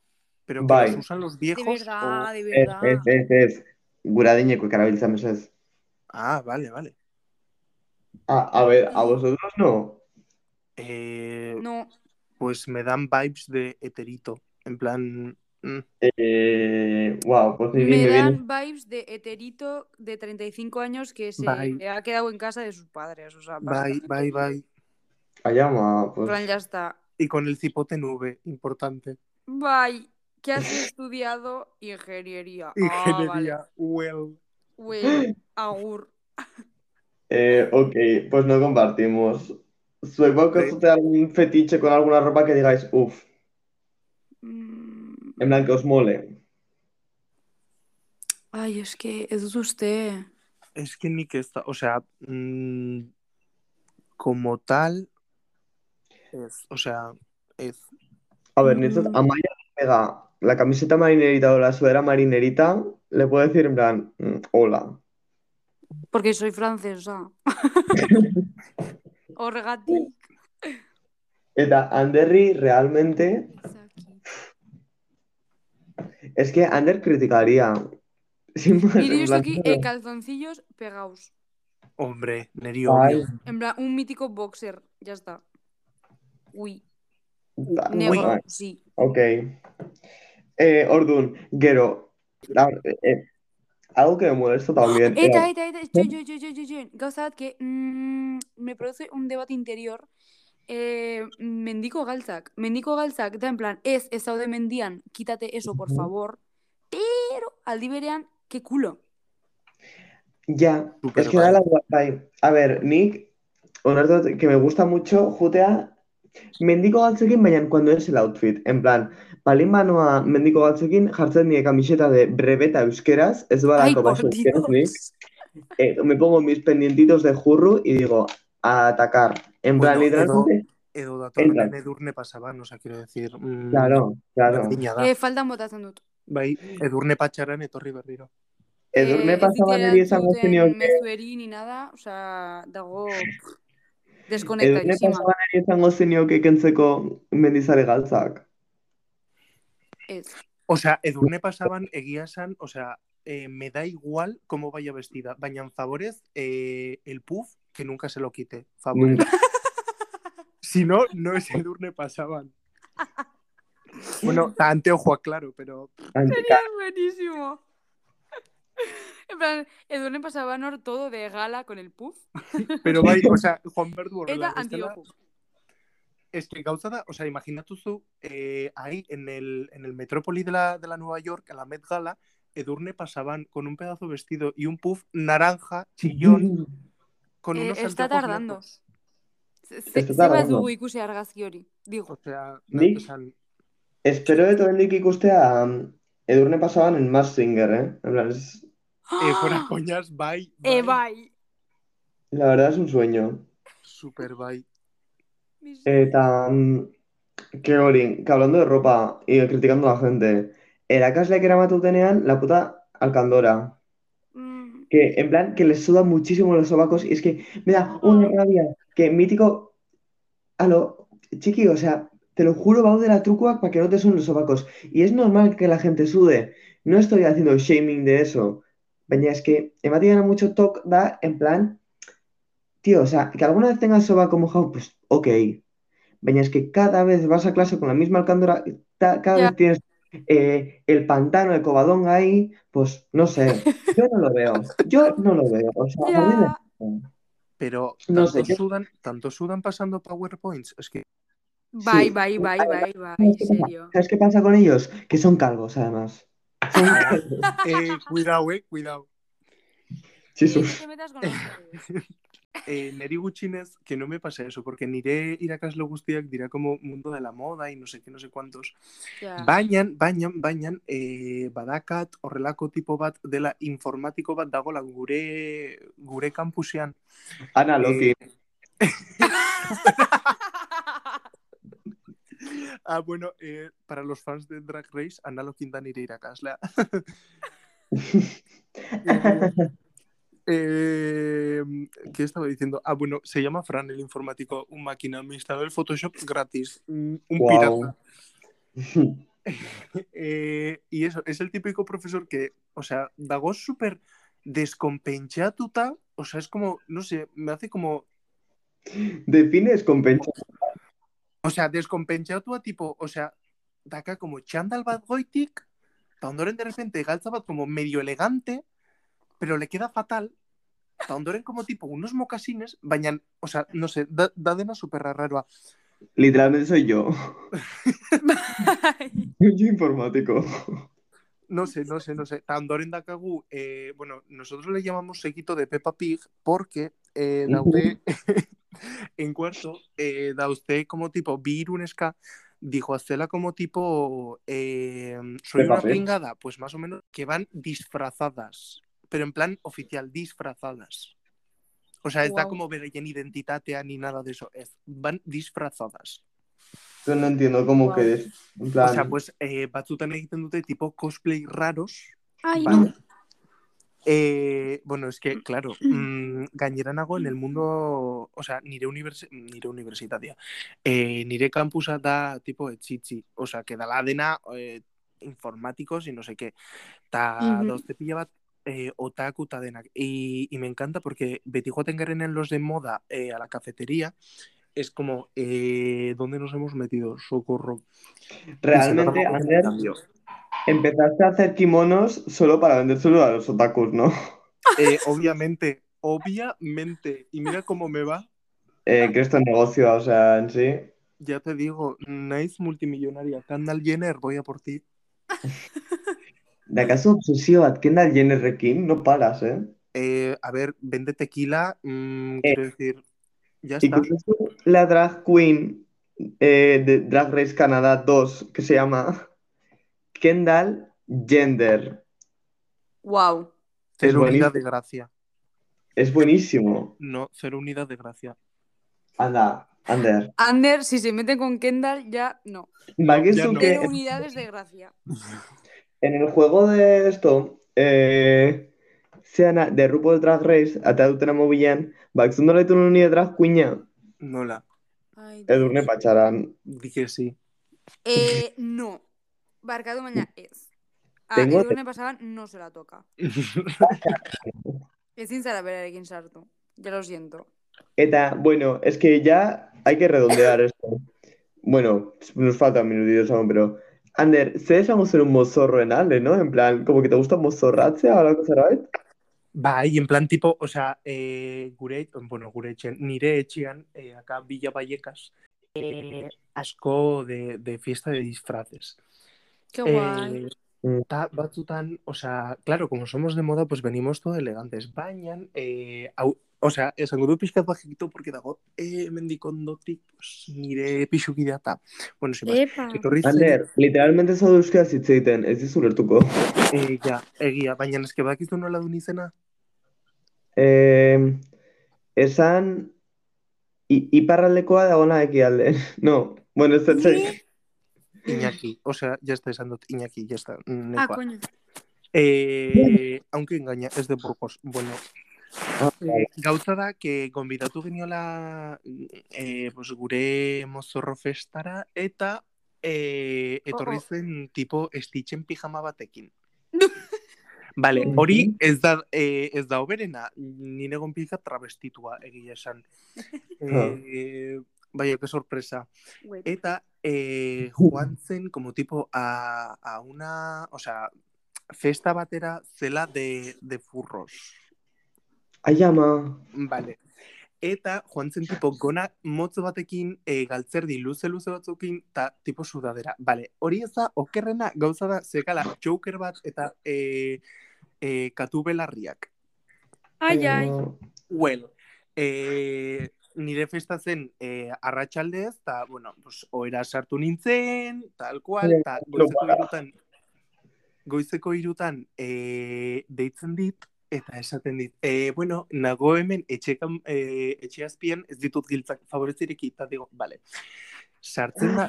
[SPEAKER 3] Pero que
[SPEAKER 1] Bye.
[SPEAKER 3] los usan
[SPEAKER 2] De
[SPEAKER 3] los viejos.
[SPEAKER 2] verdad,
[SPEAKER 3] o-
[SPEAKER 2] de
[SPEAKER 1] Ez,
[SPEAKER 2] verdad.
[SPEAKER 1] ez, ez, ez. Gura adineko ikarabiltzen meses.
[SPEAKER 3] Ah, vale, vale.
[SPEAKER 1] A, a ver, a vosotros no.
[SPEAKER 3] Eh,
[SPEAKER 2] No,
[SPEAKER 1] eh.
[SPEAKER 3] Pues me dan vibes de heterito. En plan, Mm.
[SPEAKER 1] Eh, wow, pues ni
[SPEAKER 2] Me
[SPEAKER 1] me viene.
[SPEAKER 2] dan vibes de heterito de 35 años que se
[SPEAKER 3] Bye.
[SPEAKER 2] le ha quedado en casa de sus padres. O sea,
[SPEAKER 3] Bye,
[SPEAKER 2] básicamente.
[SPEAKER 3] bye, bye.
[SPEAKER 1] Allá, ma,
[SPEAKER 2] En
[SPEAKER 1] pues.
[SPEAKER 2] plan, ya está.
[SPEAKER 3] Y con el cipote en V, importante.
[SPEAKER 2] Bye. ¿Qué has estudiado? Ingeniería. Ah, vale.
[SPEAKER 3] Ingeniería, well.
[SPEAKER 2] Güey, agur.
[SPEAKER 1] Eh, ok, pues no compartimos. Supongo que
[SPEAKER 3] Sí.
[SPEAKER 1] te algún fetiche con alguna ropa que digáis, uff,
[SPEAKER 2] Mm.
[SPEAKER 1] en plan que os mole.
[SPEAKER 2] Ay, es que es usted.
[SPEAKER 3] Es que ni que está, o sea, mm, como tal, es, o sea, es,
[SPEAKER 1] A ver, Nietzsche,
[SPEAKER 2] Mm.
[SPEAKER 1] a Maya le pega la camiseta marinerita o la sudadera marinerita, le puedo decir en plan, mm, hola.
[SPEAKER 2] Porque soy francesa. Orgatic.
[SPEAKER 1] Eta, Anderri realmente es que Ander criticaría. Sin más,
[SPEAKER 2] Y
[SPEAKER 1] en
[SPEAKER 2] digo
[SPEAKER 1] plan,
[SPEAKER 2] aquí eh, calzoncillos pegados.
[SPEAKER 3] hombre, Nerio,
[SPEAKER 1] ay,
[SPEAKER 2] En plan, un mítico boxer. Ya está. Uy.
[SPEAKER 1] ta-
[SPEAKER 2] Negro,
[SPEAKER 1] ay,
[SPEAKER 2] sí.
[SPEAKER 1] ok. Eh, Ordun, Gero, a ver, eh, eh, algo que me molesta también. eh,
[SPEAKER 2] Eta, eta, eta, join, join, join, join, join, join. Gauza bat, que mm, me produce un debate interior. Eh, mendiko galtzak. Mendiko galtzak, da en plan, ez, ez zaude mendian, quítate eso, por
[SPEAKER 1] Mhm.
[SPEAKER 2] favor. Pero, aldi berean, que culo.
[SPEAKER 1] Ya,
[SPEAKER 3] Súper
[SPEAKER 1] es que da
[SPEAKER 3] mal.
[SPEAKER 1] la guay. A ver, Nick, onartu dut que me gusta mucho, jutea, mendiko galtzekin, baina cuando es el outfit, en plan, palin banoa mendiko galtzekin, jartzen die camiseta de brebeta euskeraz, ez
[SPEAKER 2] Ay,
[SPEAKER 1] badako
[SPEAKER 2] por
[SPEAKER 1] baso euskeraz, Nick,
[SPEAKER 2] Dios.
[SPEAKER 1] Eh, me pongo mis pendientitos de jurru y digo, a atacar, en plan,
[SPEAKER 3] Bueno, mm,
[SPEAKER 1] literalmente,
[SPEAKER 3] edo datorren
[SPEAKER 1] Entra.
[SPEAKER 3] edurne pasaban, o sea, quiero decir, mm,
[SPEAKER 1] claro, claro,
[SPEAKER 3] berdina da.
[SPEAKER 2] Eh, faldan botatzen dut.
[SPEAKER 3] Bai, edurne patxaran etorri berriro.
[SPEAKER 1] edurne
[SPEAKER 2] eh,
[SPEAKER 1] pasaban hori esango zenioke-
[SPEAKER 2] mezueri ni nada, o sea, dago
[SPEAKER 1] edurne
[SPEAKER 2] deskonektadizima.
[SPEAKER 1] pasaban hori esango zenioke kentzeko mendizale galtzak.
[SPEAKER 2] Ez.
[SPEAKER 3] O sea, edurne pasaban egia esan, o sea, eh, me da igual cómo vaya vestida, baina favorez eh, el puff que nunca se lo quite, favorez.
[SPEAKER 1] Nunca.
[SPEAKER 3] Si no, no es edurne pasaban. Bueno, ta anteojoa, claro, pero
[SPEAKER 2] Sería buenísimo. En plan, Edurne pasaban hor todo de gala con el puff.
[SPEAKER 3] Pero bai, o sea, Juan Berdu
[SPEAKER 2] Eta
[SPEAKER 3] horrela. bestela,
[SPEAKER 2] antiojo.
[SPEAKER 3] Es que gauza da, o sea, imaginatu zu, eh, ahí en el, en el metrópoli de la, de la Nueva York, a la Met Gala, Edurne pasaban con un pedazo de vestido y un puff naranja, chillón, con
[SPEAKER 2] Eh,
[SPEAKER 3] unos
[SPEAKER 2] está
[SPEAKER 3] anteojos
[SPEAKER 2] tardando.
[SPEAKER 3] negros.
[SPEAKER 2] Ze- ze-
[SPEAKER 1] Está
[SPEAKER 2] Ze bat
[SPEAKER 1] tardando.
[SPEAKER 2] dugu ikusi argazki hori,
[SPEAKER 3] O
[SPEAKER 2] digo.
[SPEAKER 3] sea, eh,
[SPEAKER 1] Nik-
[SPEAKER 3] esan,
[SPEAKER 1] Espero de todo el que ikustea um, Edurne pasaban en Mars Singer, ¿eh? En plan, es-
[SPEAKER 3] eh, fuera coñas, bye, bye,
[SPEAKER 2] ¡Ah! Eh, bai.
[SPEAKER 1] la verdad es un sueño.
[SPEAKER 3] super bye.
[SPEAKER 1] Eta, um, que hori, que hablando de ropa y criticando a la gente, erakasleak tenían la puta alcandora.
[SPEAKER 2] Mm,
[SPEAKER 1] Que en plan, que les sudan muchísimo los sobacos y es que me da una rabia. Que mítico, a lo chiqui, o sea, te lo juro, va de la trucua para que no te suden los sobacos. Y es normal que la gente sude. No estoy haciendo shaming de eso. Baina, es que ematen gana mucho talk da en plan, tío, o sea, que alguna vez tengas sobaco mojado, pues ok. Baina, es que cada vez vas a clase con la misma alcándora, y ta- cada
[SPEAKER 2] Ya.
[SPEAKER 1] vez tienes eh, el pantano, el cobadón ahí, pues no sé. Yo no lo veo. Yo no lo veo. O sea, a mí me-
[SPEAKER 2] ya.
[SPEAKER 3] Pero
[SPEAKER 1] No
[SPEAKER 3] tanto
[SPEAKER 1] sé, yo-
[SPEAKER 3] sudan, tanto sudan pasando PowerPoints, es que
[SPEAKER 2] Bai,
[SPEAKER 1] Sí.
[SPEAKER 2] bai, bai, bai, bai,
[SPEAKER 1] ¿Sabes qué pasa?
[SPEAKER 2] serio.
[SPEAKER 1] ¿Sabes qué pasa con ellos? Que son calvos, además. Son calvos.
[SPEAKER 3] eh, cuidado, eh, cuidado.
[SPEAKER 1] Sí,
[SPEAKER 2] Eh,
[SPEAKER 1] son-
[SPEAKER 2] no te metas con nosotros.
[SPEAKER 3] Eh, neri gutxinez, que no me pasa eso, porque nire irakasle guztiak dirá como mundo de la moda y no sé qué, no sé cuántos.
[SPEAKER 2] Ja.
[SPEAKER 3] Bainan, bainan, bainan, eh, badakat horrelako tipo bat dela informatiko bat dagola gure gure kampusean.
[SPEAKER 1] Ana Loki.
[SPEAKER 3] Ah, bueno, eh, para los fans de Drag Race, analokin da nire irakaslea. Eh, ¿Qué estaba diciendo? Ah, bueno, se llama Fran, el informático, un máquina. Me instaló el Photoshop gratis. mm, Un
[SPEAKER 1] Guau.
[SPEAKER 3] pirata. Eh, y eso, es el típico profesor que, o sea, dago súper descompenchatuta. O sea, es como, no sé, me hace como
[SPEAKER 1] Defines con pencha.
[SPEAKER 3] O sea, descompensatua tipo, o sea, daka como txandal bat goitik, eta ondoren de repente galtza bat como medio elegante, pero le queda fatal, eta ondoren como tipo unos mocasines, baina, o sea, no sé, da, da dena superra raroa.
[SPEAKER 1] Literalmente soy yo. Yo informático.
[SPEAKER 3] No sé, no sé, no sé. Eta ondoren dakagu, eh, bueno, nosotros le llamamos sequito de Peppa Pig porque eh, daude, en cuarto, eh, dauzte como tipo bi hiruneska dijo Acela como tipo eh, soy
[SPEAKER 1] Peppa
[SPEAKER 3] una
[SPEAKER 1] Pig.
[SPEAKER 3] pringada, pues más o menos que van disfrazadas, pero en plan oficial, disfrazadas. O sea, ez da
[SPEAKER 2] Guau.
[SPEAKER 3] como beraien identitatea ni nada de eso, ez, van disfrazadas.
[SPEAKER 1] Yo no entiendo cómo
[SPEAKER 2] Wow.
[SPEAKER 1] que des- En
[SPEAKER 3] O
[SPEAKER 1] plan,
[SPEAKER 3] sea, pues eh, batzutan egiten dute tipo cosplay raros,
[SPEAKER 2] Ay,
[SPEAKER 1] vale.
[SPEAKER 2] no.
[SPEAKER 3] Eh, bueno, es que, claro, mm, gainera nago en el mundo, o sea, nire, unibertsi- nire universitatea, eh, nire campusa da tipo etxitzi, o sea, que da la dena eh, informáticos y no sé qué, ta
[SPEAKER 2] Ujú.
[SPEAKER 3] dauzte pila bat eh, otaku ta denak, y, y me encanta porque beti joaten en los de moda eh, a la cafetería, es como, eh, ¿dónde nos hemos metido? Socorro. Y se
[SPEAKER 1] realmente
[SPEAKER 3] nota como un
[SPEAKER 1] Ander,
[SPEAKER 3] cambio.
[SPEAKER 1] empezaste a hacer kimonos solo para vendérselo a los otakus, ¿no?
[SPEAKER 3] Eh, obviamente, obviamente, y mira cómo me va.
[SPEAKER 1] Eh,
[SPEAKER 3] Ah.
[SPEAKER 1] que esto es negocio, o sea, en sí.
[SPEAKER 3] Ya te digo, nice multimillonaria. Kendall Jenner, voy a por ti.
[SPEAKER 1] ¿De acaso obsesiva adquienda el Jenner King? No paras, ¿eh?
[SPEAKER 3] Eh, a ver, vende tequila. mm, Quiero decir, ya
[SPEAKER 1] Y
[SPEAKER 3] está.
[SPEAKER 1] conoces la drag queen eh, de Drag Race Canadá 2 que se llama Kendall Gender.
[SPEAKER 2] Wow.
[SPEAKER 1] es
[SPEAKER 3] Cero
[SPEAKER 1] buenísimo.
[SPEAKER 3] unidad de gracia.
[SPEAKER 1] Es buenísimo.
[SPEAKER 3] No, cero unidad de gracia.
[SPEAKER 1] Anda, Ander.
[SPEAKER 2] Ander, si se meten con Kendall, ya no.
[SPEAKER 1] Magisu
[SPEAKER 3] ya no.
[SPEAKER 1] que
[SPEAKER 2] Pero unidades de gracia.
[SPEAKER 1] en el juego de esto, eh, zeana, de RuPaul Drag Race, eta dutena mobilean, bakzun dola ditu noni drag queena,
[SPEAKER 3] Nola,
[SPEAKER 2] Ay, Dios.
[SPEAKER 1] edurne patxaran.
[SPEAKER 3] di que sí.
[SPEAKER 2] Eh, no. Barcado mañana es. A
[SPEAKER 1] Tengo-
[SPEAKER 2] Edurne pasaban no se la toca. Ezin zara berarekin sartu. Ya lo siento.
[SPEAKER 1] Eta, bueno, es que ya hay que redondear esto. Bueno, nos faltan minutitos aún, pero... Ander, ze esango zen un mozorro en Ale, ¿no? En plan, como que te gusta mozorratzea o algo zerbait?
[SPEAKER 3] Bai, y en plan tipo, o sea, eh, gure, bueno, gure etxean, nire etxean, eh, acá Villa Vallecas, eh, asko de, de fiesta de disfraces.
[SPEAKER 2] Qué guay.
[SPEAKER 3] Eh, ta, batzutan, o sea, claro, como somos de moda, pues venimos todo elegantes. Bañan, eh, hau, o sea, esango du pixkat bajito, porque dago, eh, mendikondotik, pues, nire pixukidea eta, bueno, sin más.
[SPEAKER 2] Epa.
[SPEAKER 3] Etorri zen,
[SPEAKER 1] Ander, literalmente eso de euskera hitz egiten, ez dizu lertuko.
[SPEAKER 3] eh, ja, egia, baina eske bakizu nola dun izena?
[SPEAKER 1] Eh, esan i, iparraldekoa dagoena ekialde. No, bueno, ez zer...
[SPEAKER 3] Iñaki, o sea, ya está esan dut, Iñaki, ya está,
[SPEAKER 2] Ah,
[SPEAKER 3] nekoa.
[SPEAKER 2] coño.
[SPEAKER 3] Eh, aunque engaña, es de Burgos. Bueno,
[SPEAKER 1] Ah,
[SPEAKER 3] eh, gauza da, que gonbidatu geniola eh, pues, gure mozorro festara, eta eh, etorri
[SPEAKER 2] Oh, oh.
[SPEAKER 3] zen tipo estitzen pijama batekin. Vale, hori
[SPEAKER 1] Mhm.
[SPEAKER 3] ez da, eh, ez da oberena, nire gonbika travestitua egia esan. Eh, Baina, que sorpresa.
[SPEAKER 2] Wait.
[SPEAKER 3] Eta eh, joan zen como tipo a, a una, o sea, festa batera zela de, de furros.
[SPEAKER 1] Ai, ama.
[SPEAKER 3] Vale. Eta joan zen tipo gona motz batekin, e, galtzerdi luze luze batzukin, eta tipo sudadera. Vale, hori ez da, okerrena gauza da, zekala joker bat eta e, e, katu belarriak.
[SPEAKER 2] Ay, ay.
[SPEAKER 1] ama.
[SPEAKER 3] Well, eh, nire festa zen eh, arratsaldez, eta, bueno, pues, oera sartu nintzen, tal cual, eta goizeko irutan, goizeko irutan eh, deitzen dit, eta esaten dit, eh, bueno, nago hemen etxekan, eh, etxe azpian ez ditut giltzak favorezirik, eta digo, vale, sartzen da,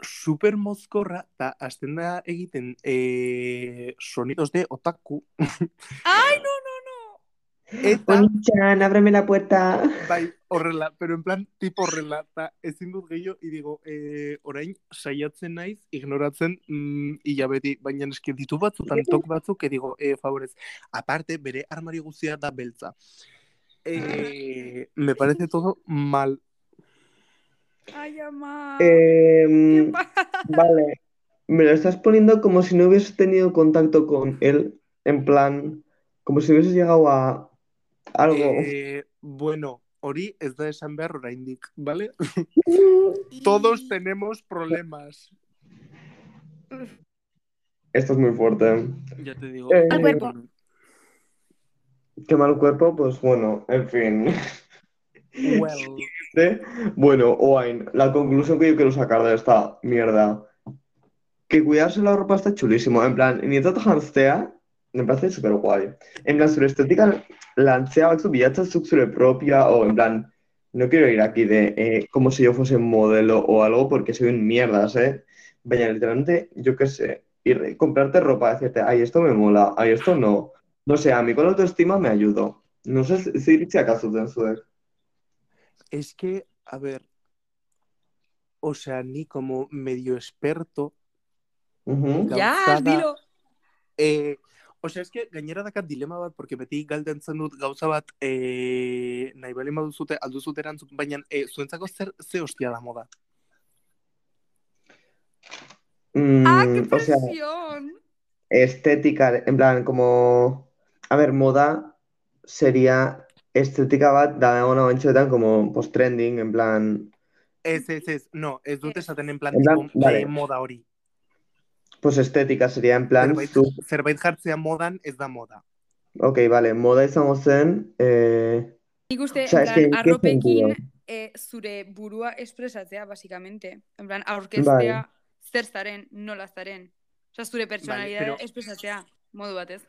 [SPEAKER 3] super mozkorra, eta hasten da egiten eh, sonidos de otaku,
[SPEAKER 2] Ay, no, no, no.
[SPEAKER 3] eta
[SPEAKER 1] Oni-chan, ábreme la puerta.
[SPEAKER 2] Ah,
[SPEAKER 3] Bai, horrela, pero en plan tipo horrela, eta ezin dut gehiago, y digo, eh, orain saiatzen naiz, ignoratzen mm, hilabeti, baina eski ditu batzutan tok batzuk, que digo, eh, favorez, aparte, bere armari guztia da beltza. Eh, me parece todo mal.
[SPEAKER 2] Ay, ama.
[SPEAKER 1] Eh,
[SPEAKER 2] Qué pa-
[SPEAKER 1] vale. Me lo estás poniendo como si no hubieses tenido contacto con él, en plan, como si hubieses llegado a algo.
[SPEAKER 3] Eh, bueno, hori ez da esan behar oraindik, ¿vale? Todos tenemos problemas.
[SPEAKER 1] Esto es muy fuerte.
[SPEAKER 3] Ya te digo.
[SPEAKER 1] Eh,
[SPEAKER 2] Al cuerpo.
[SPEAKER 1] Qué mal cuerpo, pues bueno, en fin.
[SPEAKER 3] Well,
[SPEAKER 1] Este, Bueno, Owain, la conclusión que yo quiero sacar de esta mierda. Que cuidarse la ropa está chulísimo. En plan, ni tanto jantzea, me parece súper guay. En plan, su estética lantzea batzuk bilatzen zuk zure propia o en plan, no quiero ir aquí de eh, como si yo fuese modelo o algo porque soy un mierdas, ¿eh? Vaya, literalmente, yo qué sé, ir comprarte ropa, decirte, ay, esto me mola, ay, esto no. No sé, a mí con la autoestima me ayudó. No sé si iritsi akazutzen zuek.
[SPEAKER 3] es que, a ver, o sea, ni como medio experto,
[SPEAKER 1] Ujú.
[SPEAKER 2] Ja,
[SPEAKER 3] gauzada-
[SPEAKER 2] dilo.
[SPEAKER 3] Eh, osea, eske, gainera dakat dilema bat, porque beti galden zen dut gauza bat, eh, nahi bali maduzute, alduzut erantzun, baina eh, zuentzako zer, ze hostia da moda.
[SPEAKER 1] Mm,
[SPEAKER 2] ¡Ah, qué
[SPEAKER 1] o sea,
[SPEAKER 2] presión!
[SPEAKER 1] estética, en plan, como, a ver, moda sería estetika bat da ona bantxoetan como post trending, en plan,
[SPEAKER 3] Ez, ez, ez, no, ez dut esaten en plan,
[SPEAKER 1] En plan,
[SPEAKER 3] tipo,
[SPEAKER 1] vale.
[SPEAKER 3] eh, moda hori.
[SPEAKER 1] pues estética sería en plan,
[SPEAKER 3] Zerbait,
[SPEAKER 1] zu-
[SPEAKER 3] zerbait jartzea modan ez da moda.
[SPEAKER 1] ok, vale, moda izango zen, eh,
[SPEAKER 2] Nik uste,
[SPEAKER 1] O sea,
[SPEAKER 2] en
[SPEAKER 1] es que
[SPEAKER 2] plan,
[SPEAKER 1] en qué
[SPEAKER 2] arropekin
[SPEAKER 1] sentido?
[SPEAKER 2] eh, zure burua espresatzea, basicamente. En plan, aurkeztea, zer zaren, nola zaren. Osa, zure pertsonalidadea
[SPEAKER 3] pero-
[SPEAKER 2] espresatzea, modu batez.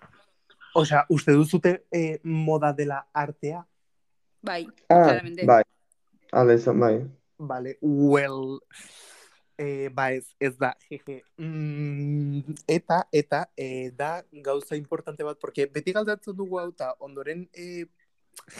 [SPEAKER 3] Osea, uste duzute eh, moda dela artea?
[SPEAKER 2] Bai,
[SPEAKER 1] ah,
[SPEAKER 2] claramente.
[SPEAKER 1] bai, ala izan, bai,
[SPEAKER 3] Vale, well, eh, ba ez, ez da, jeje. Mm, eta, eta, eh, da gauza importante bat, porque beti galdatzen dugu hau, eta ondoren eh,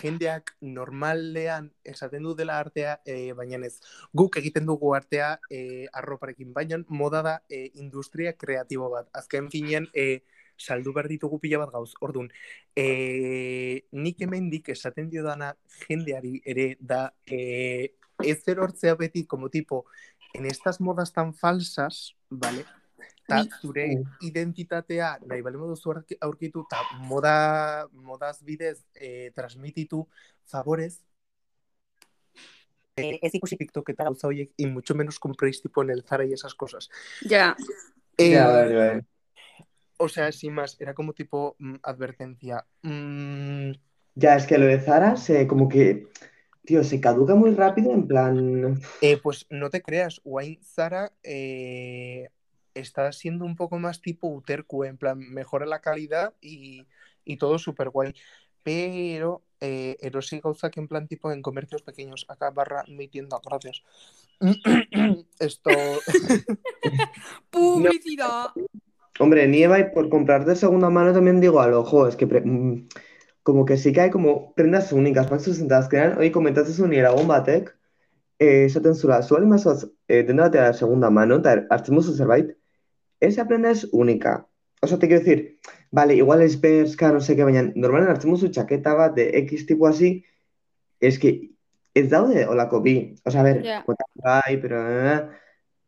[SPEAKER 3] jendeak normalean esaten du dela artea, eh, baina ez, guk egiten dugu artea eh, arroparekin, baina moda da eh, industria kreatibo bat. Azken finean, eh, saldu behar ditugu pila bat gauz, ordun eh, nik hemendik esaten diodana jendeari ere da eh, ez erortzea beti como tipo en estas modas tan falsas, vale? Ta
[SPEAKER 2] Nik-
[SPEAKER 3] zure identitatea nahi bale moduzu aurki- aurkitu ta moda modaz bidez eh, transmititu favorez eh, ez ikusi TikTok eta gauza horiek y mucho menos compréis tipo en el Zara y esas cosas.
[SPEAKER 2] Ja,
[SPEAKER 3] Eh,
[SPEAKER 1] Ya, bai, bai.
[SPEAKER 3] o sea, sin más, era como tipo mm, advertencia. Mm,
[SPEAKER 1] Ya, es que lo de Zara se, como que, tío, se caduca muy rápido, en plan,
[SPEAKER 3] Eh, pues no te creas, Wine Zara eh, está siendo un poco más tipo Uterku, en plan, mejora la calidad y, y todo súper guay. Pero eh, erosi gauzak en plan tipo en comercios pequeños, acá barra mi tienda, gracias. Esto,
[SPEAKER 2] publicidad.
[SPEAKER 1] Hombre, nieva y por comprar de segunda mano también digo al ojo, es que pre- mm, como que sí que hay como prendas únicas, más sustentadas que eran, hoy comentaste un iragon batek, eh, esaten zula, zuela mazoaz, eh, denda batea de segunda mano, eta hartzen duzu zerbait, esa prenda es única. O sea, te quiero decir, vale, igual es berska, no sé qué, baina normalen hartzen duzu chaqueta bat de X tipo así, es que ez daude holako bi. O sea, a ver,
[SPEAKER 2] Ja.
[SPEAKER 1] bota bai, pero...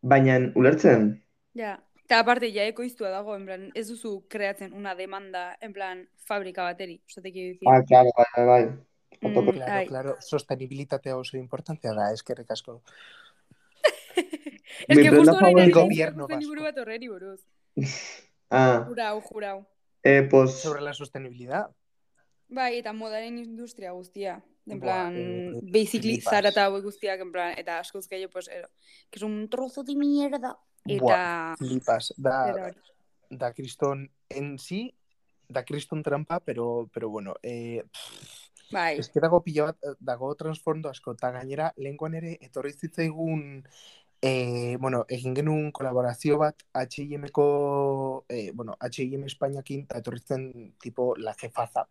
[SPEAKER 1] Baina ulertzen,
[SPEAKER 2] Ja. Eta aparte, ja ekoiztua dago, en plan, ez duzu kreatzen una demanda, en plan, fabrika bateri. Osateki dut.
[SPEAKER 1] Ah, claro, bai, bai, bai. a tope.
[SPEAKER 2] Mm,
[SPEAKER 3] claro,
[SPEAKER 2] ai.
[SPEAKER 3] claro, sostenibilitatea oso importantea da, eskerrik asko.
[SPEAKER 2] Ez
[SPEAKER 1] Mi
[SPEAKER 2] que
[SPEAKER 1] prenda
[SPEAKER 2] justo orain
[SPEAKER 1] favorita-
[SPEAKER 2] ari nintzen
[SPEAKER 3] Gobierno
[SPEAKER 2] ikusten
[SPEAKER 3] vasco.
[SPEAKER 2] liburu bat horreri buruz.
[SPEAKER 1] Ah,
[SPEAKER 2] Jurau, jurau.
[SPEAKER 1] eh, pues
[SPEAKER 3] Sobre la sostenibilidad,
[SPEAKER 2] Bai, eta modaren industria guztia. En
[SPEAKER 3] Buah,
[SPEAKER 2] plan,
[SPEAKER 3] eh,
[SPEAKER 2] basically,
[SPEAKER 3] flipas.
[SPEAKER 2] zara eta hauek guztiak, en plan, eta askoz gehiago, pues, ero, que es un trozo de mierda. Eta...
[SPEAKER 3] flipas, da,
[SPEAKER 2] Era hori.
[SPEAKER 3] da Criston en sí, da Criston trampa, pero, pero bueno, eh, pff,
[SPEAKER 2] Bai,
[SPEAKER 3] eske dago pila bat, eh, dago transfondo asko, eta gainera, lehenkoan ere, etorri zitzaigun, eh, bueno, egin genuen kolaborazio bat, H&M-ko, eh, bueno, H&M Espainiakin, eta etorri zen, tipo, la jefaza.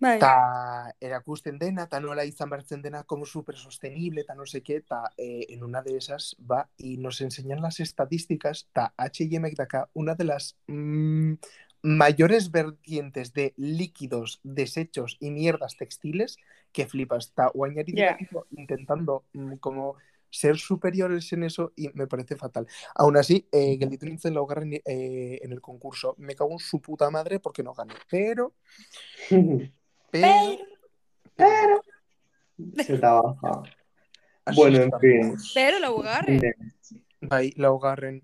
[SPEAKER 2] bai.
[SPEAKER 3] Eta erakusten dena, eta nola izan bertzen dena, como súper sostenible, eta no sé qué, eta eh, en una de esas va y nos enseñan las estadísticas, eta H&M que acá, una de las mm, mayores vertientes de líquidos, desechos y mierdas textiles que flipas. Está Guañari
[SPEAKER 2] Ya.
[SPEAKER 3] intentando mm, como ser superiores en eso y me parece fatal. Aún así, eh, gelditu nintzen laugarren eh, en el concurso. Me cago en su puta madre porque no gané. Pero, pero...
[SPEAKER 1] Pero se trabaja.
[SPEAKER 3] así
[SPEAKER 1] Bueno, en
[SPEAKER 3] estamos.
[SPEAKER 1] fin.
[SPEAKER 2] Pero laugarren,
[SPEAKER 3] Bai, laugarren.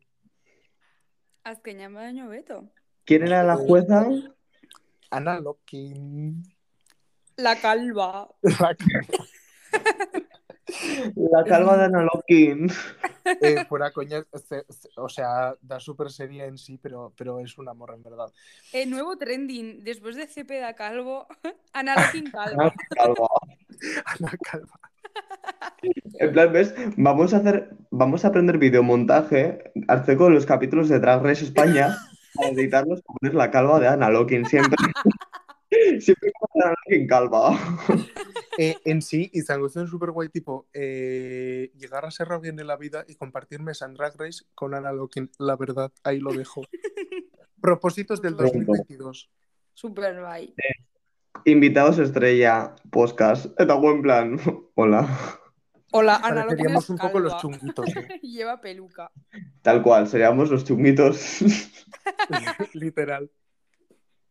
[SPEAKER 2] azkenean baino beto.
[SPEAKER 1] ¿Quién era la jueza?
[SPEAKER 3] Ana Lokin.
[SPEAKER 2] La calva.
[SPEAKER 1] La calva de Analokin.
[SPEAKER 3] Eh, fuera coña, este- este- o sea, da súper seria en sí, pero, pero es un amor en verdad.
[SPEAKER 2] El nuevo trending, después de Cepeda Calvo, Analoquín Calvo.
[SPEAKER 3] Ah.
[SPEAKER 1] Calva.
[SPEAKER 3] Ana Calva.
[SPEAKER 1] En plan, ¿ves? Vamos a hacer, vamos a aprender videomontaje, hacer con los capítulos de Drag Race España, para editarlos, poner la calva de Ana Lokin siempre. siempre con Ana Lokin calva.
[SPEAKER 3] Eh, en sí, y Zanguzón es súper guay, tipo, eh, llegar a ser alguien en la vida y compartirme San Drag Race con Ana Lokin. La verdad, ahí lo dejo. Propósitos del
[SPEAKER 1] Pronto.
[SPEAKER 3] 2022.
[SPEAKER 2] Super bye.
[SPEAKER 1] Invitados estrella, podcast. Está buen plan. Hola.
[SPEAKER 2] Hola, Analoquín
[SPEAKER 3] Pareceríamos un poco los
[SPEAKER 2] chungos.
[SPEAKER 3] chunguitos, ¿eh?
[SPEAKER 2] Lleva peluca.
[SPEAKER 1] Tal cual, seríamos los chunguitos.
[SPEAKER 3] literal.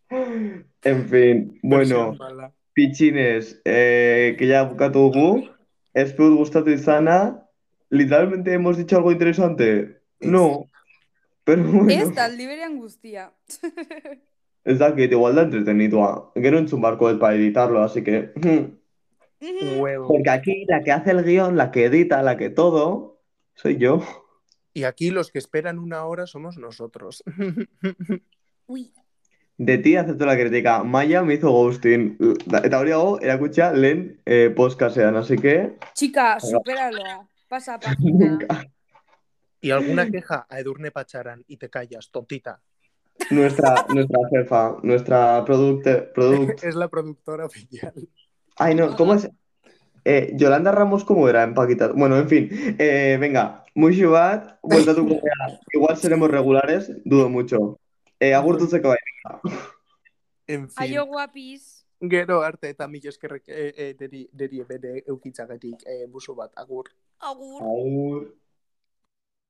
[SPEAKER 1] en fin, bueno,
[SPEAKER 3] Versión mala.
[SPEAKER 1] pichines, eh, que ya bukatugu. Espero gustatu izana. Literalmente hemos dicho algo interesante. No. Pero bueno.
[SPEAKER 2] Ez taldi berean guztia.
[SPEAKER 1] Es la que igual da entretenido. ah, Que no es un barco para editarlo, así que.
[SPEAKER 3] Huevo.
[SPEAKER 1] Porque aquí la que hace el guión, la que edita, la que todo, soy yo.
[SPEAKER 3] Y aquí los que esperan una hora somos nosotros.
[SPEAKER 2] Uy,
[SPEAKER 1] De ti acepto la crítica. Maya me hizo ghosting. Eta hori hago, erakutsa lehen eh, podcastean, así que...
[SPEAKER 2] chica, supéralo. ah. Pasa página.
[SPEAKER 3] y alguna queja a Edurne Pacharán y te callas, tontita.
[SPEAKER 1] Nuestra, nuestra jefa, nuestra product... product...
[SPEAKER 3] Es la productora oficial.
[SPEAKER 1] Ay, no, ¿cómo es? Eh, Yolanda Ramos, ¿cómo era en Paquita? Bueno, en fin. Eh, venga, muy bat, vuelta a tu correa. Igual seremos regulares, dudo mucho. Eh, agurtu zeko bai.
[SPEAKER 3] En fin.
[SPEAKER 2] Aio guapis.
[SPEAKER 3] Gero arte eta mila eskerrek eh, eh, deri, deri bere eukitzagatik eh, buzo bat, agur.
[SPEAKER 2] Agur.
[SPEAKER 1] Agur.